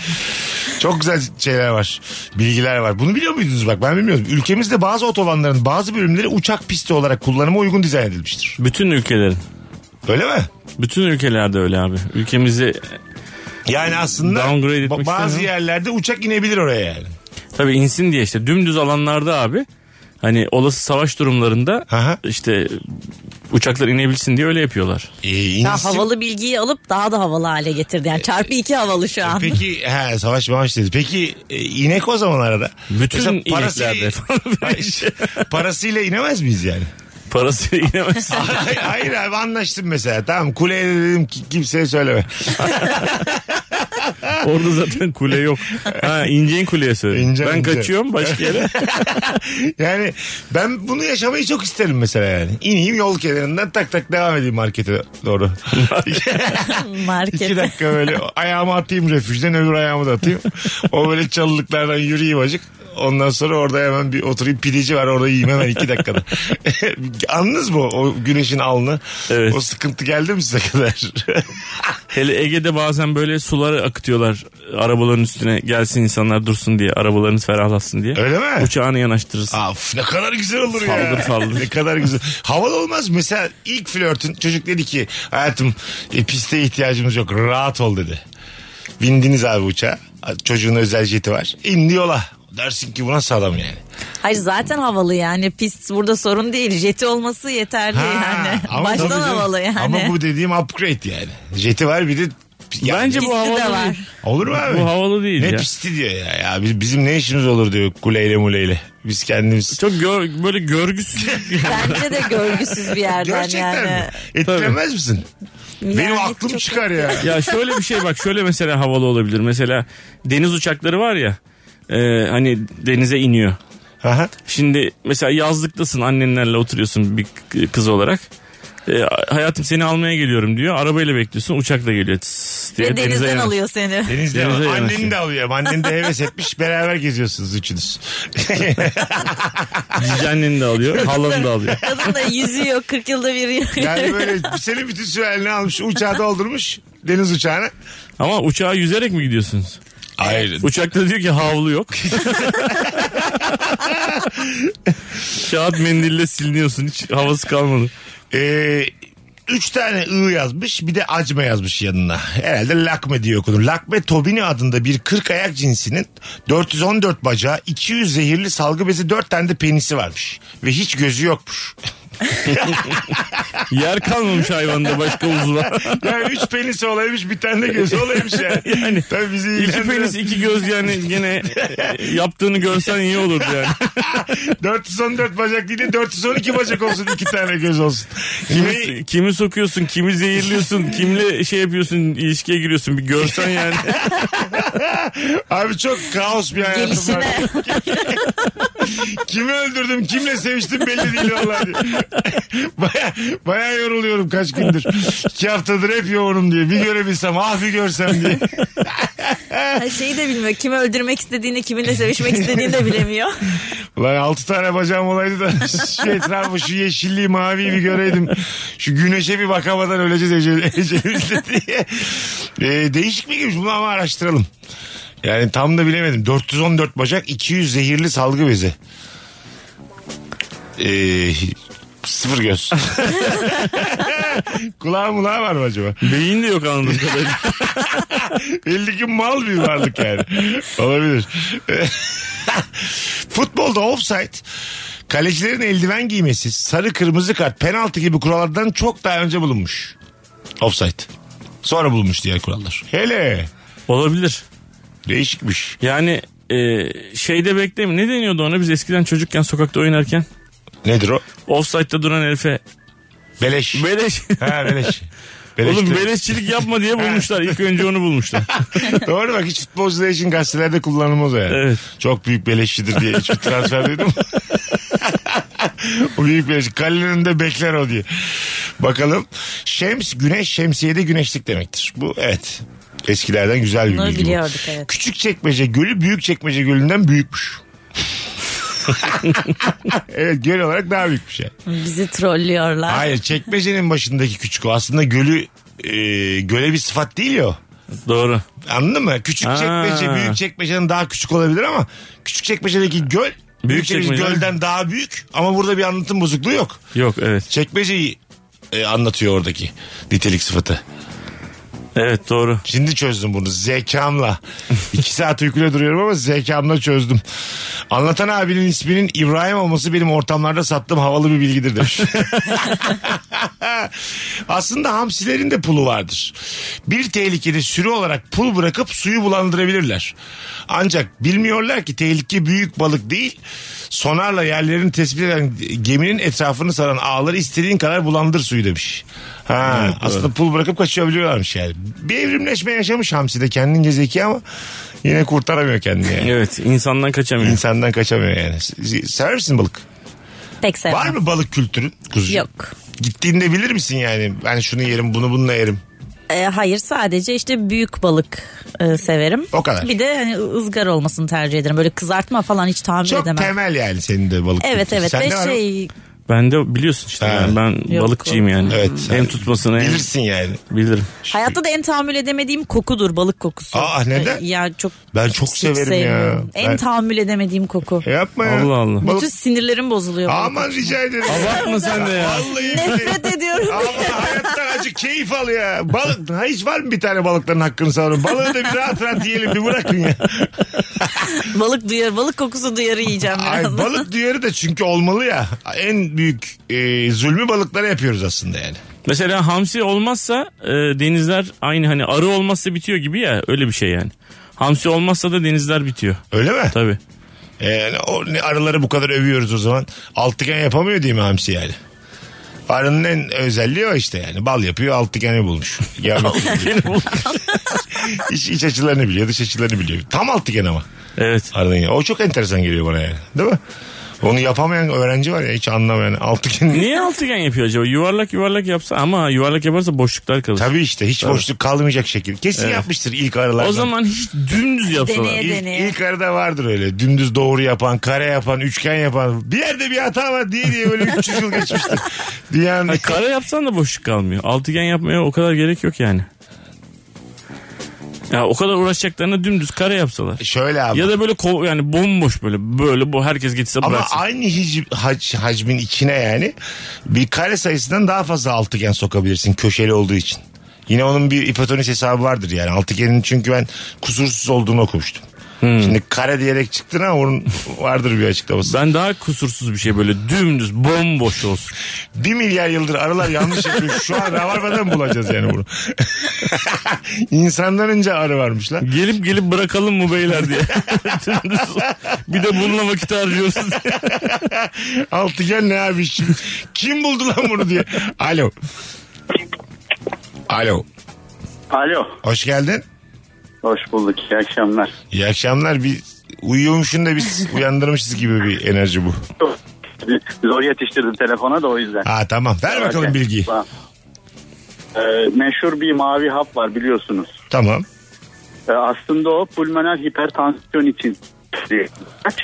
[SPEAKER 3] Çok güzel şeyler var. Bilgiler var. Bunu biliyor muydunuz bak ben bilmiyorum. Ülkemizde bazı otobanların bazı bölümleri uçak pisti olarak kullanıma uygun dizayn edilmiştir.
[SPEAKER 5] Bütün ülkelerin.
[SPEAKER 3] Öyle mi?
[SPEAKER 5] Bütün ülkelerde öyle abi. Ülkemizi
[SPEAKER 3] Yani aslında
[SPEAKER 5] Downgrade etmek
[SPEAKER 3] ba- bazı
[SPEAKER 5] istemiyorum.
[SPEAKER 3] yerlerde uçak inebilir oraya yani.
[SPEAKER 5] Tabii insin diye işte dümdüz alanlarda abi hani olası savaş durumlarında
[SPEAKER 3] Aha.
[SPEAKER 5] işte uçaklar inebilsin diye öyle yapıyorlar.
[SPEAKER 3] Ee,
[SPEAKER 4] Ya
[SPEAKER 3] insin-
[SPEAKER 4] havalı bilgiyi alıp daha da havalı hale getirdi.
[SPEAKER 3] E,
[SPEAKER 4] Yani çarpı iki havalı şu an.
[SPEAKER 3] Peki he, savaş maaş dedi. Peki e, inek o zaman arada.
[SPEAKER 5] Bütün
[SPEAKER 3] Mesela
[SPEAKER 5] ineklerde falan.
[SPEAKER 3] Hayır, parasıyla inemez miyiz yani?
[SPEAKER 5] Parası inemezsin.
[SPEAKER 3] Hayır, hayır abi anlaştım mesela. Tamam kuleye de dedim ki kimseye söyleme.
[SPEAKER 5] Orada zaten kule yok. Ha inceğin kuleye söyle.
[SPEAKER 3] İnce,
[SPEAKER 5] ben
[SPEAKER 3] ince.
[SPEAKER 5] kaçıyorum başka yere.
[SPEAKER 3] Yani ben bunu yaşamayı çok isterim mesela yani. İneyim yol kenarından tak tak devam edeyim markete doğru. İki
[SPEAKER 4] Markete.
[SPEAKER 3] dakika böyle ayağımı atayım refüjden öbür ayağımı da atayım. O böyle çalılıklardan yürüyeyim acık. Ondan sonra orada hemen bir oturayım pideci var orada yiyeyim hemen iki dakikada. Anladınız mı o güneşin alnı?
[SPEAKER 5] Evet.
[SPEAKER 3] O sıkıntı geldi mi size kadar?
[SPEAKER 5] Hele Ege'de bazen böyle suları akıtıyorlar arabaların üstüne gelsin insanlar dursun diye arabalarınız ferahlatsın diye.
[SPEAKER 3] Öyle mi?
[SPEAKER 5] Uçağını yanaştırırsın.
[SPEAKER 3] Af ne kadar güzel olur ya.
[SPEAKER 5] Saldır, saldır.
[SPEAKER 3] Ne kadar güzel. Havalı olmaz. mı? Mesela ilk flörtün çocuk dedi ki hayatım e, piste ihtiyacımız yok rahat ol dedi. Bindiniz abi uçağa. Çocuğun özel jeti var. İndi yola. Dersin ki buna sağlam yani.
[SPEAKER 4] Hayır zaten havalı yani. Pist burada sorun değil. Jeti olması yeterli
[SPEAKER 3] Ha,
[SPEAKER 4] yani.
[SPEAKER 3] ama tabii
[SPEAKER 4] Baştan
[SPEAKER 3] canım.
[SPEAKER 4] havalı yani.
[SPEAKER 3] Ama bu dediğim upgrade yani. Jeti var bir de Ya
[SPEAKER 5] Bence bu
[SPEAKER 4] Pisti de
[SPEAKER 5] havalı
[SPEAKER 4] var.
[SPEAKER 5] değil.
[SPEAKER 3] Olur mu abi?
[SPEAKER 5] Bu havalı değil
[SPEAKER 3] ne
[SPEAKER 5] ya.
[SPEAKER 3] pisti diyor ya. ya. Biz, bizim ne işimiz olur diyor kuleyle muleyle. Biz kendimiz.
[SPEAKER 5] Çok gör- böyle görgüsüz.
[SPEAKER 4] Bence de görgüsüz bir yerden
[SPEAKER 3] Gerçekten
[SPEAKER 4] yani.
[SPEAKER 3] mi? Etkilenmez misin? Benim
[SPEAKER 4] Yani
[SPEAKER 3] aklım
[SPEAKER 4] çok-
[SPEAKER 3] çıkar ya.
[SPEAKER 5] ya şöyle bir şey bak şöyle mesela havalı olabilir. Mesela deniz uçakları var ya e, hani denize iniyor.
[SPEAKER 3] Aha.
[SPEAKER 5] Şimdi mesela yazlıktasın annenlerle oturuyorsun bir k- kız olarak. E, hayatım seni almaya geliyorum diyor. Arabayla bekliyorsun uçakla geliyor. Tıs diye
[SPEAKER 4] Ve denizden
[SPEAKER 5] yanaşıyor.
[SPEAKER 4] alıyor seni.
[SPEAKER 3] Denizde
[SPEAKER 5] Denize
[SPEAKER 3] ama
[SPEAKER 5] yanaşıyor.
[SPEAKER 3] anneni de alıyor. Annen de heves etmiş. Beraber geziyorsunuz üçünüz.
[SPEAKER 5] Cici anneni de alıyor. Halanı da alıyor.
[SPEAKER 4] Kadın da yüzüyor 40 yılda bir.
[SPEAKER 3] Yani böyle senin bütün sürenini almış. Uçağı doldurmuş. Deniz uçağına.
[SPEAKER 5] Ama uçağa yüzerek mi gidiyorsunuz?
[SPEAKER 3] Hayır.
[SPEAKER 5] Uçakta diyor ki havlu yok. Kağıt mendille siliniyorsun. Hiç havası kalmadı.
[SPEAKER 3] Ee, üç tane ı yazmış bir de acme yazmış yanına. Herhalde lakme diye okunur. Lakme tobini adında bir 40 ayak cinsinin 414 bacağı, 200 zehirli salgı bezi, 4 tane de penisi varmış. Ve hiç gözü yokmuş.
[SPEAKER 5] Yer kalmamış hayvanda başka uzva.
[SPEAKER 3] Yani 3 penisi olaymış bir tane de gözü olaymış yani.
[SPEAKER 5] Yani
[SPEAKER 3] Tabii bizi
[SPEAKER 5] İki penis iki göz yani gene e, yaptığını görsen iyi olurdu yani.
[SPEAKER 3] 414 bacak değil de 412 bacak olsun iki tane göz olsun. Kimi,
[SPEAKER 5] Kimi, kimi sokuyorsun, kimi zehirliyorsun, kimle şey yapıyorsun, ilişkiye giriyorsun bir görsen yani.
[SPEAKER 3] abi çok kaos bir hayatım var.
[SPEAKER 4] Gelişine.
[SPEAKER 3] Kimi öldürdüm, kimle seviştim belli değil vallahi. baya, baya yoruluyorum kaç gündür. İki haftadır hep yoğunum diye. Bir görebilsem, ah bir görsem diye.
[SPEAKER 4] Her şeyi de bilmiyor. Kimi öldürmek istediğini, kiminle sevişmek istediğini de bilemiyor.
[SPEAKER 3] Ulan altı tane bacağım olaydı da şu etrafı, şu yeşilliği, maviyi bir göreydim. Şu güneşe bir bakamadan öleceğiz ece- ecelimizle diye. Ee, değişik bir girmiş bunu ama araştıralım. Yani tam da bilemedim. 414 bacak, 200 zehirli salgı bezi. Ee, sıfır göz. Kulağı mulağı var mı acaba?
[SPEAKER 5] Beyin de yok anladığım kadarıyla.
[SPEAKER 3] Belli ki mal bir varlık yani. Olabilir. Futbolda offside kalecilerin eldiven giymesi sarı kırmızı kart penaltı gibi kurallardan çok daha önce bulunmuş. Offside. Sonra bulunmuş diğer kurallar. Hele
[SPEAKER 5] Olabilir.
[SPEAKER 3] değişikmiş.
[SPEAKER 5] Yani e, şeyde bekleme. Ne deniyordu ona biz eskiden çocukken sokakta oynarken?
[SPEAKER 3] Nedir o?
[SPEAKER 5] Offside'da duran herife
[SPEAKER 3] Beleş.
[SPEAKER 5] beleş.
[SPEAKER 3] ha beleş. Beleş
[SPEAKER 5] Oğlum
[SPEAKER 3] de-
[SPEAKER 5] beleşçilik yapma diye bulmuşlar. İlk önce onu bulmuşlar.
[SPEAKER 3] Doğru bak hiç futbolcular için gazetelerde kullanılmaz o yani.
[SPEAKER 5] Evet.
[SPEAKER 3] Çok büyük beleşçidir diye hiçbir transfer duydum. o büyük beleş. Kalenin de bekler o diye. Bakalım. Şems, güneş, şemsiyede güneşlik demektir. Bu evet. Eskilerden güzel bir
[SPEAKER 4] Bunları
[SPEAKER 3] bilgi bu.
[SPEAKER 4] biliyorduk, evet.
[SPEAKER 3] Küçük çekmece gölü büyük çekmece gölünden büyükmüş. evet göl olarak daha büyükmüş yani.
[SPEAKER 4] Bizi trollüyorlar.
[SPEAKER 3] Hayır çekmecenin başındaki küçük o. Aslında gölü e, göle bir sıfat değil ya o.
[SPEAKER 5] Doğru.
[SPEAKER 3] Anladın mı? Küçük
[SPEAKER 5] Ha.
[SPEAKER 3] çekmece büyük çekmecenin daha küçük olabilir ama küçük çekmecedeki göl büyük, çekmece
[SPEAKER 5] çekmece.
[SPEAKER 3] gölden daha büyük ama burada bir anlatım bozukluğu yok.
[SPEAKER 5] Yok evet.
[SPEAKER 3] Çekmeceyi e, anlatıyor oradaki nitelik sıfatı.
[SPEAKER 5] Evet doğru.
[SPEAKER 3] Şimdi çözdüm bunu zekamla. İki saat uykuyla duruyorum ama zekamla çözdüm. Anlatan abinin isminin İbrahim olması benim ortamlarda sattığım havalı bir bilgidir demiş. Aslında hamsilerin de pulu vardır. Bir tehlikede sürü olarak pul bırakıp suyu bulandırabilirler. Ancak bilmiyorlar ki tehlike büyük balık değil. Sonarla yerlerini tespit eden geminin etrafını saran ağları istediğin kadar bulandır suyu demiş. Ha, aslında pul bırakıp kaçabiliyorlarmış yani. Bir evrimleşme yaşamış hamsi de kendince zeki ama yine kurtaramıyor kendini yani.
[SPEAKER 5] Evet insandan kaçamıyor.
[SPEAKER 3] İnsandan kaçamıyor yani. S- Sever misin balık?
[SPEAKER 4] Pek sevmem.
[SPEAKER 3] Var mı balık kültürün? Kuzucuğum?
[SPEAKER 4] Yok.
[SPEAKER 3] Gittiğinde bilir misin yani? Ben şunu yerim, Hani bunu bununla yerim.
[SPEAKER 4] E, hayır sadece işte büyük balık e, severim.
[SPEAKER 3] O kadar.
[SPEAKER 4] Bir de hani ızgara olmasını tercih ederim. Böyle kızartma falan hiç tahammül
[SPEAKER 3] Çok
[SPEAKER 4] edemem.
[SPEAKER 3] temel yani senin de balık.
[SPEAKER 4] Evet
[SPEAKER 3] kültürü.
[SPEAKER 4] evet
[SPEAKER 3] Sende
[SPEAKER 4] ve
[SPEAKER 3] var mı?
[SPEAKER 4] şey
[SPEAKER 5] Ben de biliyorsun işte
[SPEAKER 3] Ha.
[SPEAKER 5] yani ben
[SPEAKER 4] Yok.
[SPEAKER 5] balıkçıyım yani.
[SPEAKER 3] Evet, sen
[SPEAKER 5] Hem tutmasını hem
[SPEAKER 3] Bilirsin yani.
[SPEAKER 5] bilirim.
[SPEAKER 4] hayatta da en tahammül edemediğim kokudur balık kokusu.
[SPEAKER 3] şey- Aa, neden?
[SPEAKER 4] E, Ya çok
[SPEAKER 3] Ben çok
[SPEAKER 4] hiç
[SPEAKER 3] severim ya.
[SPEAKER 4] sevmiyorum. En
[SPEAKER 3] Ben-
[SPEAKER 4] tahammül edemediğim koku.
[SPEAKER 3] Yapma ya.
[SPEAKER 5] Allah Allah.
[SPEAKER 3] Balık-
[SPEAKER 4] Bütün sinirlerim bozuluyor. balık
[SPEAKER 3] Aman
[SPEAKER 4] kokusundan.
[SPEAKER 3] rica ederim.
[SPEAKER 5] Abartma sen de ya.
[SPEAKER 3] Vallahi billahi.
[SPEAKER 4] Nefret ediyorum.
[SPEAKER 3] Ama hayattan acı keyif al ya. Balık ha, hiç var mı bir tane balıkların hakkını savunun? Balığı da bir rahat rahat yiyelim bir bırakın ya.
[SPEAKER 4] balık duyarı, balık kokusu duyarı yiyeceğim
[SPEAKER 3] Ay,
[SPEAKER 4] birazdan.
[SPEAKER 3] balık duyarı da çünkü olmalı ya. En büyük e, zulmü balıklara yapıyoruz aslında yani.
[SPEAKER 5] Mesela hamsi olmazsa e, denizler aynı hani arı olmazsa bitiyor gibi ya öyle bir şey yani. Hamsi olmazsa da denizler bitiyor.
[SPEAKER 3] Öyle mi?
[SPEAKER 5] Tabii.
[SPEAKER 3] E, Yani o ne arıları bu kadar övüyoruz o zaman. Altıgen yapamıyor değil mi hamsi yani? Arının en özelliği o işte yani. Bal yapıyor altıgeni bulmuş. Geometri. iç, iç açılarını biliyor dış açılarını biliyor. Tam altıgen ama.
[SPEAKER 5] Evet.
[SPEAKER 3] Ardın ya. O çok enteresan geliyor bana yani. Değil mi? Onu yapamayan öğrenci var ya hiç anlamayan. Altıgen
[SPEAKER 5] Niye altıgen yapıyor acaba? Yuvarlak yuvarlak yapsa ama yuvarlak yaparsa boşluklar kalır.
[SPEAKER 3] Tabii işte hiç boşluk kalmayacak şekil. Kesin yapmıştır ilk aralardan.
[SPEAKER 5] O zaman hiç dümdüz yapsalar.
[SPEAKER 4] Deneye-
[SPEAKER 3] İlk,
[SPEAKER 4] Nedeni.
[SPEAKER 3] ilk arada vardır öyle. Dümdüz doğru yapan, kare yapan, üçgen yapan. Bir yerde bir hata var diye diye böyle 300 yıl geçmiştir. Dünyanın...
[SPEAKER 5] Hayır, kare yapsan da boşluk kalmıyor. Altıgen yapmaya o kadar gerek yok yani. Ya o kadar uğraşacaklarına dümdüz kare yapsalar.
[SPEAKER 3] Şöyle abi.
[SPEAKER 5] Ya da böyle ko- yani bomboş böyle böyle bu herkes gitse
[SPEAKER 3] Ama
[SPEAKER 5] bıraksın.
[SPEAKER 3] aynı hic- hac- hacmin içine yani bir kare sayısından daha fazla altıgen sokabilirsin köşeli olduğu için. Yine onun bir hipotenüs hesabı vardır yani. Altıgenin çünkü ben kusursuz olduğunu okumuştum. Şimdi kare diyerek çıktın ama onun vardır bir açıklaması.
[SPEAKER 5] Ben daha kusursuz bir şey böyle dümdüz bomboş olsun.
[SPEAKER 3] Bir milyar yıldır arılar yanlış yapıyor. Şu an ravarmadan mı bulacağız yani bunu? İnsandan önce arı varmış lan.
[SPEAKER 5] Gelip gelip bırakalım mı beyler diye. Dümdüz. bir de bununla vakit harcıyorsun.
[SPEAKER 3] Altıgen ne abi şimdi? Kim buldu lan bunu diye. Alo. Alo.
[SPEAKER 10] Alo.
[SPEAKER 3] Hoş geldin.
[SPEAKER 10] Hoş bulduk. İyi akşamlar.
[SPEAKER 3] İyi akşamlar. Bir uyuyormuşsun da biz uyandırmışız gibi bir enerji bu.
[SPEAKER 10] Zor yetiştirdim telefona da o yüzden.
[SPEAKER 3] Ha tamam. Ver bakalım
[SPEAKER 10] Okey.
[SPEAKER 3] bilgiyi.
[SPEAKER 10] Tamam. Ee, meşhur bir mavi hap var biliyorsunuz.
[SPEAKER 3] Tamam.
[SPEAKER 10] Ee, aslında o pulmoner hipertansiyon için bir ilaç.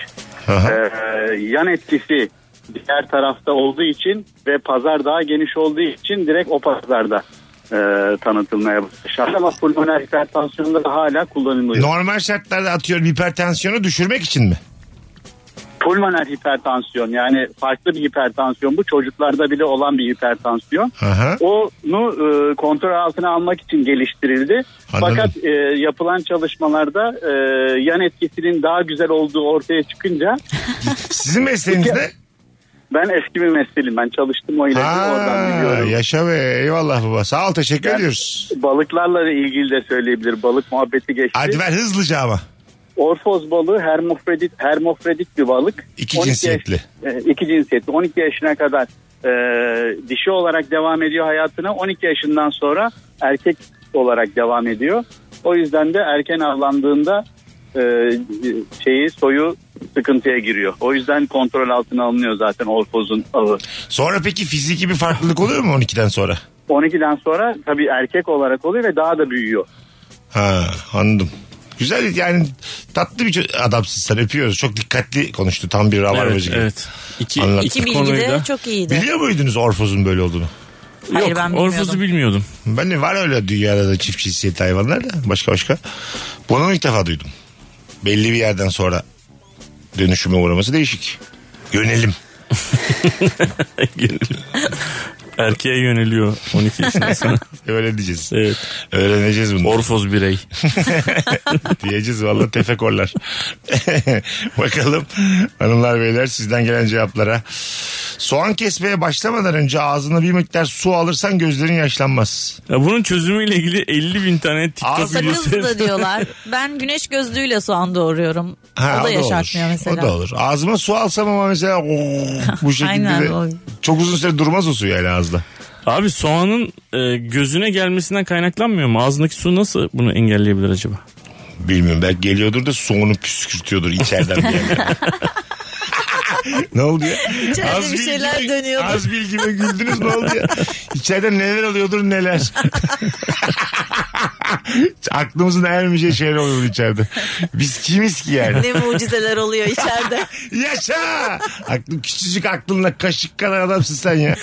[SPEAKER 3] Aha.
[SPEAKER 10] Ee, yan etkisi diğer tarafta olduğu için ve pazar daha geniş olduğu için direkt o pazarda e, tanıtılmaya başlandı. Ama pulmoner hipertansiyonda da hala kullanılıyor.
[SPEAKER 3] Normal şartlarda atıyorum hipertansiyonu düşürmek için mi?
[SPEAKER 10] Pulmoner hipertansiyon yani farklı bir hipertansiyon bu çocuklarda bile olan bir hipertansiyon.
[SPEAKER 3] Aha.
[SPEAKER 10] Onu e, kontrol altına almak için geliştirildi.
[SPEAKER 3] Anladım.
[SPEAKER 10] Fakat e, yapılan çalışmalarda e, yan etkisinin daha güzel olduğu ortaya çıkınca
[SPEAKER 3] Sizin mesleğiniz ne?
[SPEAKER 10] ben eski bir mesleğim ben çalıştım o ilacı oradan
[SPEAKER 3] Ha,
[SPEAKER 10] biliyorum.
[SPEAKER 3] yaşa be. Eyvallah baba. Sağ ol. Teşekkür
[SPEAKER 10] Ben-
[SPEAKER 3] ediyoruz.
[SPEAKER 10] Balıklarla ilgili de söyleyebilir balık muhabbeti geçti.
[SPEAKER 3] Hadi ver hızlıca ama.
[SPEAKER 10] Orfoz balığı hermofredit, hermofredit bir balık.
[SPEAKER 3] İki
[SPEAKER 10] 12
[SPEAKER 3] cinsiyetli.
[SPEAKER 10] Yaş, e, iki cinsiyetli. 12 yaşına kadar e, dişi olarak devam ediyor hayatına. 12 yaşından sonra erkek olarak devam ediyor. O yüzden de erken avlandığında e, şeyi soyu sıkıntıya giriyor. O yüzden kontrol altına alınıyor zaten orfozun avı.
[SPEAKER 3] Sonra peki fiziki bir farklılık oluyor mu 12'den sonra?
[SPEAKER 10] 12'den sonra tabii erkek olarak oluyor ve daha da büyüyor.
[SPEAKER 3] Ha anladım. Güzel yani tatlı bir ço- adamsın sen öpüyoruz. Çok dikkatli konuştu tam bir ravar
[SPEAKER 5] evet, evet. İki,
[SPEAKER 3] Anlat.
[SPEAKER 4] İki bilgi
[SPEAKER 5] konuyu
[SPEAKER 4] de
[SPEAKER 5] da-
[SPEAKER 4] çok iyiydi.
[SPEAKER 3] Biliyor muydunuz Orfoz'un böyle olduğunu?
[SPEAKER 4] Hayır,
[SPEAKER 5] Yok,
[SPEAKER 4] ben
[SPEAKER 5] Orfoz'u
[SPEAKER 4] bilmiyordum.
[SPEAKER 5] bilmiyordum.
[SPEAKER 3] Ben de var öyle dünyada da çift cinsiyetli hayvanlar da başka başka. Bunu ilk defa duydum. Belli bir yerden sonra dönüşüme uğraması değişik. Yönelim.
[SPEAKER 5] Erkeğe yöneliyor 12 yaşında sonra.
[SPEAKER 3] Öyle diyeceğiz.
[SPEAKER 5] Evet.
[SPEAKER 3] Öğreneceğiz bunu.
[SPEAKER 5] Orfoz birey.
[SPEAKER 3] Diyeceğiz valla tefekorlar. Bakalım hanımlar beyler sizden gelen cevaplara. Soğan kesmeye başlamadan önce ağzına bir miktar su alırsan gözlerin yaşlanmaz.
[SPEAKER 5] Ya bunun çözümüyle ilgili 50 bin tane TikTok
[SPEAKER 3] Ağzı-
[SPEAKER 5] videosu.
[SPEAKER 4] Sakız da diyorlar. Ben güneş gözlüğüyle soğan doğruyorum. o da
[SPEAKER 3] olur.
[SPEAKER 4] yaşartmıyor mesela.
[SPEAKER 3] O da olur. Ağzıma su alsam ama mesela oo, bu şekilde
[SPEAKER 4] Aynen,
[SPEAKER 3] de
[SPEAKER 4] o.
[SPEAKER 3] çok uzun süre durmaz o su yani ağızda.
[SPEAKER 5] Abi soğanın e, gözüne gelmesinden kaynaklanmıyor mu? Ağzındaki su nasıl bunu engelleyebilir acaba?
[SPEAKER 3] Bilmiyorum belki geliyordur da soğunu püskürtüyordur içeriden bir yerden. ne oldu ya?
[SPEAKER 4] İçeride bir
[SPEAKER 3] bilgi-
[SPEAKER 4] şeyler dönüyordu.
[SPEAKER 3] Az bilgime güldünüz ne oldu ya? İçeride neler oluyordur neler. Aklımızın ermeyeceği şeyler oluyor içeride. Biz kimiz ki yani?
[SPEAKER 4] Ne mucizeler oluyor içeride.
[SPEAKER 3] Yaşa! Aklın, küçücük aklınla kaşık kadar adamsın sen ya.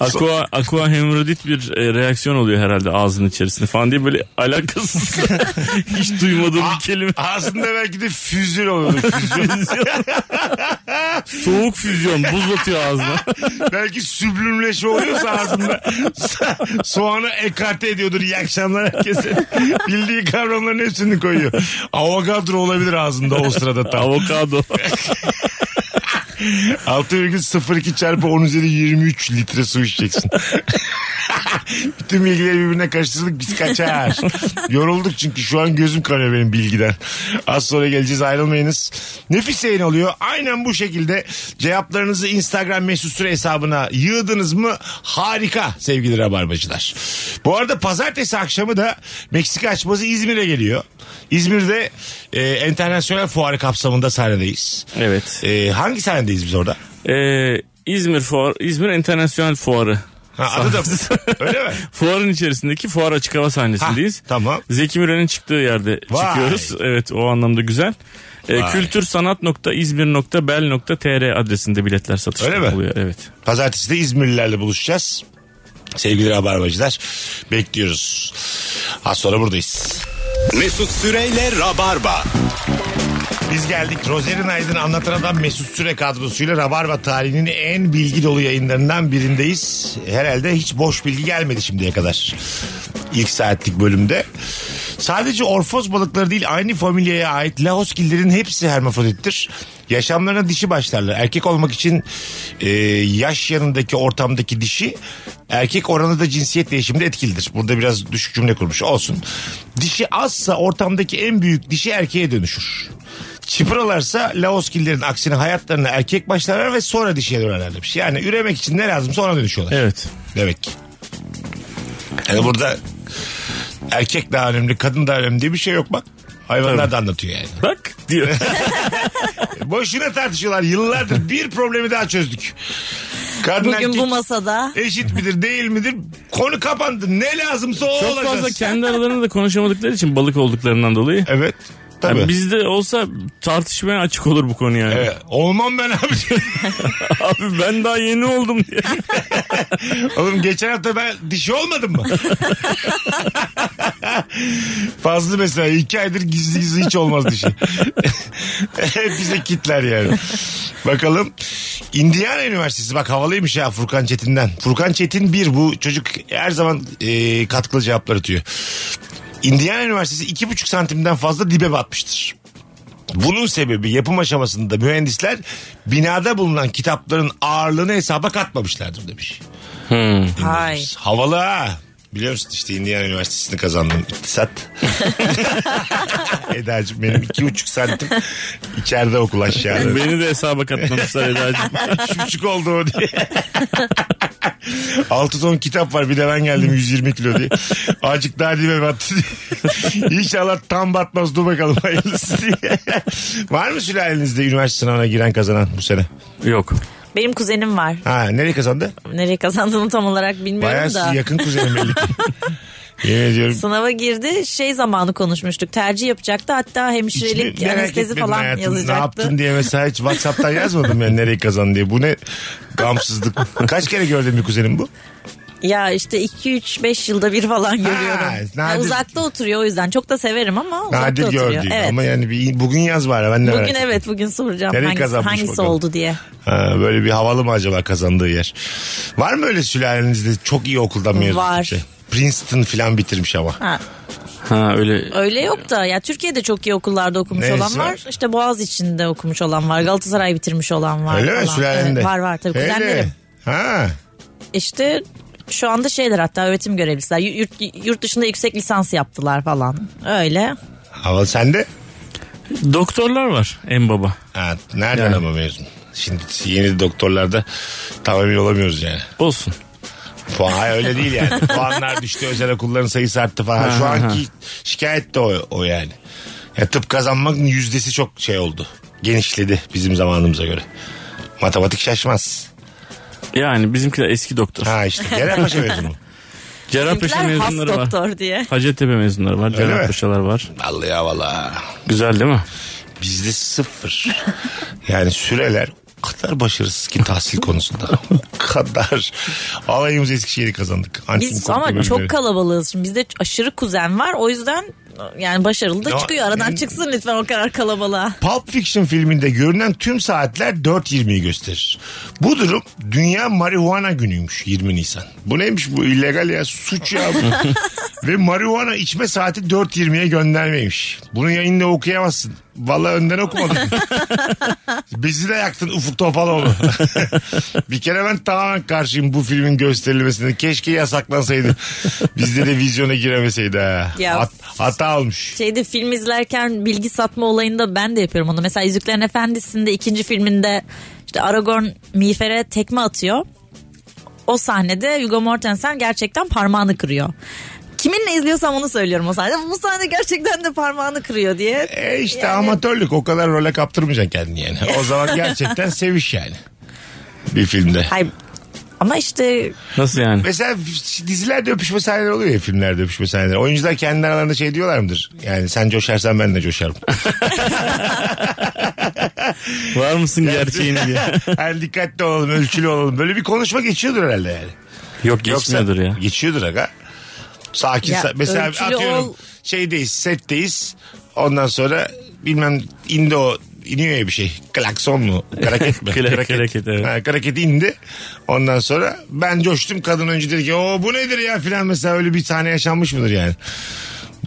[SPEAKER 5] Aqua, aqua hemoroidit bir e, reaksiyon oluyor herhalde ağzının içerisinde falan diye böyle alakasız hiç duymadığım bir kelime.
[SPEAKER 3] Aslında belki de füzyon oluyordu. Füzyon.
[SPEAKER 5] Soğuk füzyon buz atıyor ağzına.
[SPEAKER 3] belki süblümleşme oluyorsa ağzında so- soğanı ekarte ediyordur. İyi akşamlar herkese. Bildiği kavramların hepsini koyuyor. Avogadro olabilir ağzında o sırada tam.
[SPEAKER 5] Avokado.
[SPEAKER 3] 6,02 çarpı 10 üzeri 23 litre su içeceksin. Bütün bilgileri birbirine karıştırdık biz kaçar. Yorulduk çünkü şu an gözüm kanıyor benim bilgiden. Az sonra geleceğiz ayrılmayınız. Nefis yayın oluyor. Aynen bu şekilde cevaplarınızı Instagram mesut süre hesabına yığdınız mı? Harika sevgili rabarbacılar. Bu arada pazartesi akşamı da Meksika açması İzmir'e geliyor. İzmir'de e, internasyonel fuarı kapsamında sahnedeyiz.
[SPEAKER 5] evet.
[SPEAKER 3] E, hangi sahnedeyiz biz orada?
[SPEAKER 5] Ee, İzmir fuar, İzmir Enternasyonel Fuarı.
[SPEAKER 3] Ha, adı da öyle mi?
[SPEAKER 5] Fuarın içerisindeki fuar açık hava sahnesindeyiz.
[SPEAKER 3] Ha, tamam.
[SPEAKER 5] Zeki Müren'in çıktığı yerde
[SPEAKER 3] Vay.
[SPEAKER 5] çıkıyoruz. Evet o anlamda güzel. Ee,
[SPEAKER 3] Vay.
[SPEAKER 5] kültürsanat.izmir.bel.tr adresinde biletler satışta
[SPEAKER 3] Öyle mi?
[SPEAKER 5] oluyor. Evet.
[SPEAKER 3] Pazartesi de İzmirlilerle buluşacağız. Sevgili Rabarbacılar bekliyoruz. Az sonra buradayız.
[SPEAKER 2] Mesut Süreyle Rabarba.
[SPEAKER 3] Biz geldik. Rozerin Aydın anlatan adam Mesut Süre kadrosuyla Rabarba tarihinin en bilgi dolu yayınlarından birindeyiz. Herhalde hiç boş bilgi gelmedi şimdiye kadar. İlk saatlik bölümde. Sadece orfoz balıkları değil aynı familyaya ait lahoskillerin hepsi hermafrodittir. Yaşamlarına dişi başlarlar. Erkek olmak için e, yaş yanındaki ortamdaki dişi erkek oranı da cinsiyet değişiminde etkilidir. Burada biraz düşük cümle kurmuş olsun. Dişi azsa ortamdaki en büyük dişi erkeğe dönüşür. Çıpıralarsa Laoskillerin aksine hayatlarına erkek başlarlar ve sonra dişiye dönerler demiş. Yani üremek için ne lazımsa ona dönüşüyorlar.
[SPEAKER 5] Evet.
[SPEAKER 3] Demek ki. Yani burada erkek daha önemli, kadın daha önemli diye bir şey yok bak. Hayvanlar da anlatıyor yani.
[SPEAKER 5] Bak diyor.
[SPEAKER 3] Boşuna tartışıyorlar yıllardır. Bir problemi daha çözdük. Kadın
[SPEAKER 4] Bugün
[SPEAKER 3] erkek
[SPEAKER 4] bu masada
[SPEAKER 3] eşit midir değil midir? Konu kapandı. Ne lazımsa o
[SPEAKER 5] Çok
[SPEAKER 3] olacağız.
[SPEAKER 5] fazla kendi aralarında da konuşamadıkları için balık olduklarından dolayı.
[SPEAKER 3] Evet. Tabii.
[SPEAKER 5] Yani bizde olsa tartışmaya açık olur bu konu yani.
[SPEAKER 3] Evet. Olmam ben abi.
[SPEAKER 5] Abi ben daha yeni oldum diye.
[SPEAKER 3] Oğlum geçen hafta ben dişi olmadım mı? Fazlı mesela iki aydır gizli gizli hiç olmaz dişi. Bize kitler yani. Bakalım. Indiana Üniversitesi bak havalıymış ya Furkan Çetin'den. Furkan Çetin bir bu çocuk her zaman e, katkılı cevaplar atıyor. Indiana Üniversitesi iki buçuk santimden fazla dibe batmıştır. Bunun sebebi yapım aşamasında mühendisler binada bulunan kitapların ağırlığını hesaba katmamışlardır demiş.
[SPEAKER 4] Hay.
[SPEAKER 3] Havalı ha. Biliyor musun işte Indiana Üniversitesi'ni kazandım. İktisat. Eda'cığım benim iki buçuk santim içeride okul aşağıda.
[SPEAKER 5] Beni de hesaba katmamışlar Eda'cığım.
[SPEAKER 3] Üç buçuk oldu o diye. 6 ton kitap var bir de ben geldim 120 kilo diye. Acık daha dibe battı diye. İnşallah tam batmaz dur bakalım hayırlısı diye. var mı sülalenizde üniversite sınavına giren kazanan bu sene?
[SPEAKER 5] Yok.
[SPEAKER 4] Benim kuzenim var.
[SPEAKER 3] Ha nereye kazandı?
[SPEAKER 4] Nereye kazandığını tam olarak bilmiyorum
[SPEAKER 3] Bayağı
[SPEAKER 4] da.
[SPEAKER 3] yakın kuzenim belli ki. Yemin ediyorum
[SPEAKER 4] Sınava girdi şey zamanı konuşmuştuk tercih yapacaktı hatta hemşirelik
[SPEAKER 3] merak
[SPEAKER 4] anestezi
[SPEAKER 3] etmedim
[SPEAKER 4] falan
[SPEAKER 3] hayatım. Ne
[SPEAKER 4] yazacaktı.
[SPEAKER 3] yaptın diye mesela hiç Whatsapp'tan yazmadım ben nereye kazan diye. Bu ne gamsızlık. Kaç kere gördüm bir kuzenim bu?
[SPEAKER 4] Ya işte 2-3-5 yılda bir falan görüyorum. Ya
[SPEAKER 3] nadir.
[SPEAKER 4] uzakta oturuyor o yüzden çok da severim ama uzakta
[SPEAKER 3] Nadir
[SPEAKER 4] oturuyor.
[SPEAKER 3] gördüğüm.
[SPEAKER 4] Evet.
[SPEAKER 3] Ama yani bir, bugün yaz bari ben de merak
[SPEAKER 4] Bugün
[SPEAKER 3] ettim.
[SPEAKER 4] evet bugün soracağım
[SPEAKER 3] Nereye
[SPEAKER 4] hangisi,
[SPEAKER 3] kazanmış
[SPEAKER 4] hangisi
[SPEAKER 3] bakalım?
[SPEAKER 4] oldu diye.
[SPEAKER 3] Ha, böyle bir havalı mı acaba kazandığı yer? Var mı öyle sülalenizde çok iyi okuldan mezun?
[SPEAKER 4] Var.
[SPEAKER 3] kimse? Princeton falan bitirmiş ama.
[SPEAKER 4] Ha,
[SPEAKER 5] Ha öyle
[SPEAKER 4] öyle yok da ya Türkiye'de çok iyi okullarda okumuş
[SPEAKER 3] Neresi
[SPEAKER 4] olan var.
[SPEAKER 3] var?
[SPEAKER 4] İşte Boğaz içinde okumuş olan var. Galatasaray bitirmiş olan var.
[SPEAKER 3] öyle mi
[SPEAKER 4] falan.
[SPEAKER 3] sülalende?
[SPEAKER 4] Evet, var var tabii
[SPEAKER 3] Öyle.
[SPEAKER 4] kuzenlerim.
[SPEAKER 3] Ha.
[SPEAKER 4] İşte şu anda şeyler hatta öğretim görevlisiler Y- yurt, yurt dışında yüksek lisans yaptılar falan. Öyle.
[SPEAKER 3] Havalı sende?
[SPEAKER 5] doktorlar var en baba.
[SPEAKER 3] Ha, nereden ama mezun? Şimdi yeni doktorlarda tamamen olamıyoruz yani.
[SPEAKER 5] Olsun.
[SPEAKER 3] Puan hayır, öyle değil yani. Puanlar düştü özel okulların sayısı arttı falan. Şu anki şikayet de o, o yani. Ya tıp kazanmak yüzdesi çok şey oldu. Genişledi bizim zamanımıza göre. Matematik şaşmaz.
[SPEAKER 5] Yani bizimkiler eski doktor.
[SPEAKER 3] Ha işte Cerrahpaşa mezunu.
[SPEAKER 5] Cerrahpaşa
[SPEAKER 4] Bizimkiler has
[SPEAKER 5] mezunları var.
[SPEAKER 4] doktor diye.
[SPEAKER 5] Hacettepe mezunları var.
[SPEAKER 3] Öyle mi?
[SPEAKER 5] Cerrahpaşalar var.
[SPEAKER 3] Vallahi ya vallahi.
[SPEAKER 5] Güzel değil mi?
[SPEAKER 3] Bizde sıfır. Yani süreler o kadar başarısız ki tahsil konusunda. O kadar. Alayımız Eskişehir'i kazandık. Antin
[SPEAKER 4] Biz
[SPEAKER 3] korku
[SPEAKER 4] ama
[SPEAKER 3] bölümleri.
[SPEAKER 4] çok kalabalığız. Şimdi bizde aşırı kuzen var. O yüzden yani başarılı da
[SPEAKER 3] Ya,
[SPEAKER 4] çıkıyor. Aradan
[SPEAKER 3] yani-
[SPEAKER 4] çıksın lütfen o kadar kalabalığa.
[SPEAKER 3] Pulp Fiction filminde görünen tüm saatler 4.20'yi gösterir. Bu durum Dünya Marihuana Günü'ymüş 20 Nisan. Bu neymiş bu illegal ya suç ya bu. Ve marihuana içme saati 4.20'ye göndermeymiş. Bunu yayında okuyamazsın. Vallahi önden okumadım. Bizi de yaktın Ufuk Topaloğlu. bir kere ben tamamen karşıyım bu filmin gösterilmesine. Keşke yasaklansaydı. Bizde de vizyona giremeseydi ha.
[SPEAKER 4] Ya.
[SPEAKER 3] Hat- hata olmuş.
[SPEAKER 4] Şeyde film izlerken bilgi satma olayında ben de yapıyorum onu. Mesela Yüzüklerin Efendisi'nde ikinci filminde işte Aragorn Miğfer'e tekme atıyor. O sahnede Hugo Mortensen gerçekten parmağını kırıyor. Kiminle izliyorsam onu söylüyorum o sahnede. Bu sahne gerçekten de parmağını kırıyor diye.
[SPEAKER 3] E işte amatörlük o kadar role kaptırmayacaksın kendini yani. O zaman gerçekten seviş yani. Bir filmde.
[SPEAKER 4] Hayır. Ama işte
[SPEAKER 5] Nasıl yani?
[SPEAKER 3] Mesela dizilerde öpüşme sahneleri oluyor ya filmlerde öpüşme sahneleri. Oyuncular kendi aralarında şey diyorlar mıdır? Yani sen coşarsan ben de coşarım.
[SPEAKER 5] Var mısın gerçeğini diye.
[SPEAKER 3] yani dikkatli olalım ölçülü olalım. Böyle bir konuşma geçiyordur herhalde yani.
[SPEAKER 5] Yok geçmiyordur
[SPEAKER 3] Yoksa-
[SPEAKER 5] ya.
[SPEAKER 3] Geçiyordur aga. Sakin.
[SPEAKER 4] Ya,
[SPEAKER 3] sa- mesela
[SPEAKER 4] ölçülü
[SPEAKER 3] atıyorum
[SPEAKER 4] ol-
[SPEAKER 3] şeydeyiz setteyiz. Ondan sonra bilmem indi o iniyor ya bir şey. Klakson mu? Kraket mi?
[SPEAKER 5] Kla- kraket, evet.
[SPEAKER 3] Ha, kraket indi. Ondan sonra ben coştum. Kadın önce dedi ki o bu nedir ya filan mesela öyle bir sahne yaşanmış mıdır yani?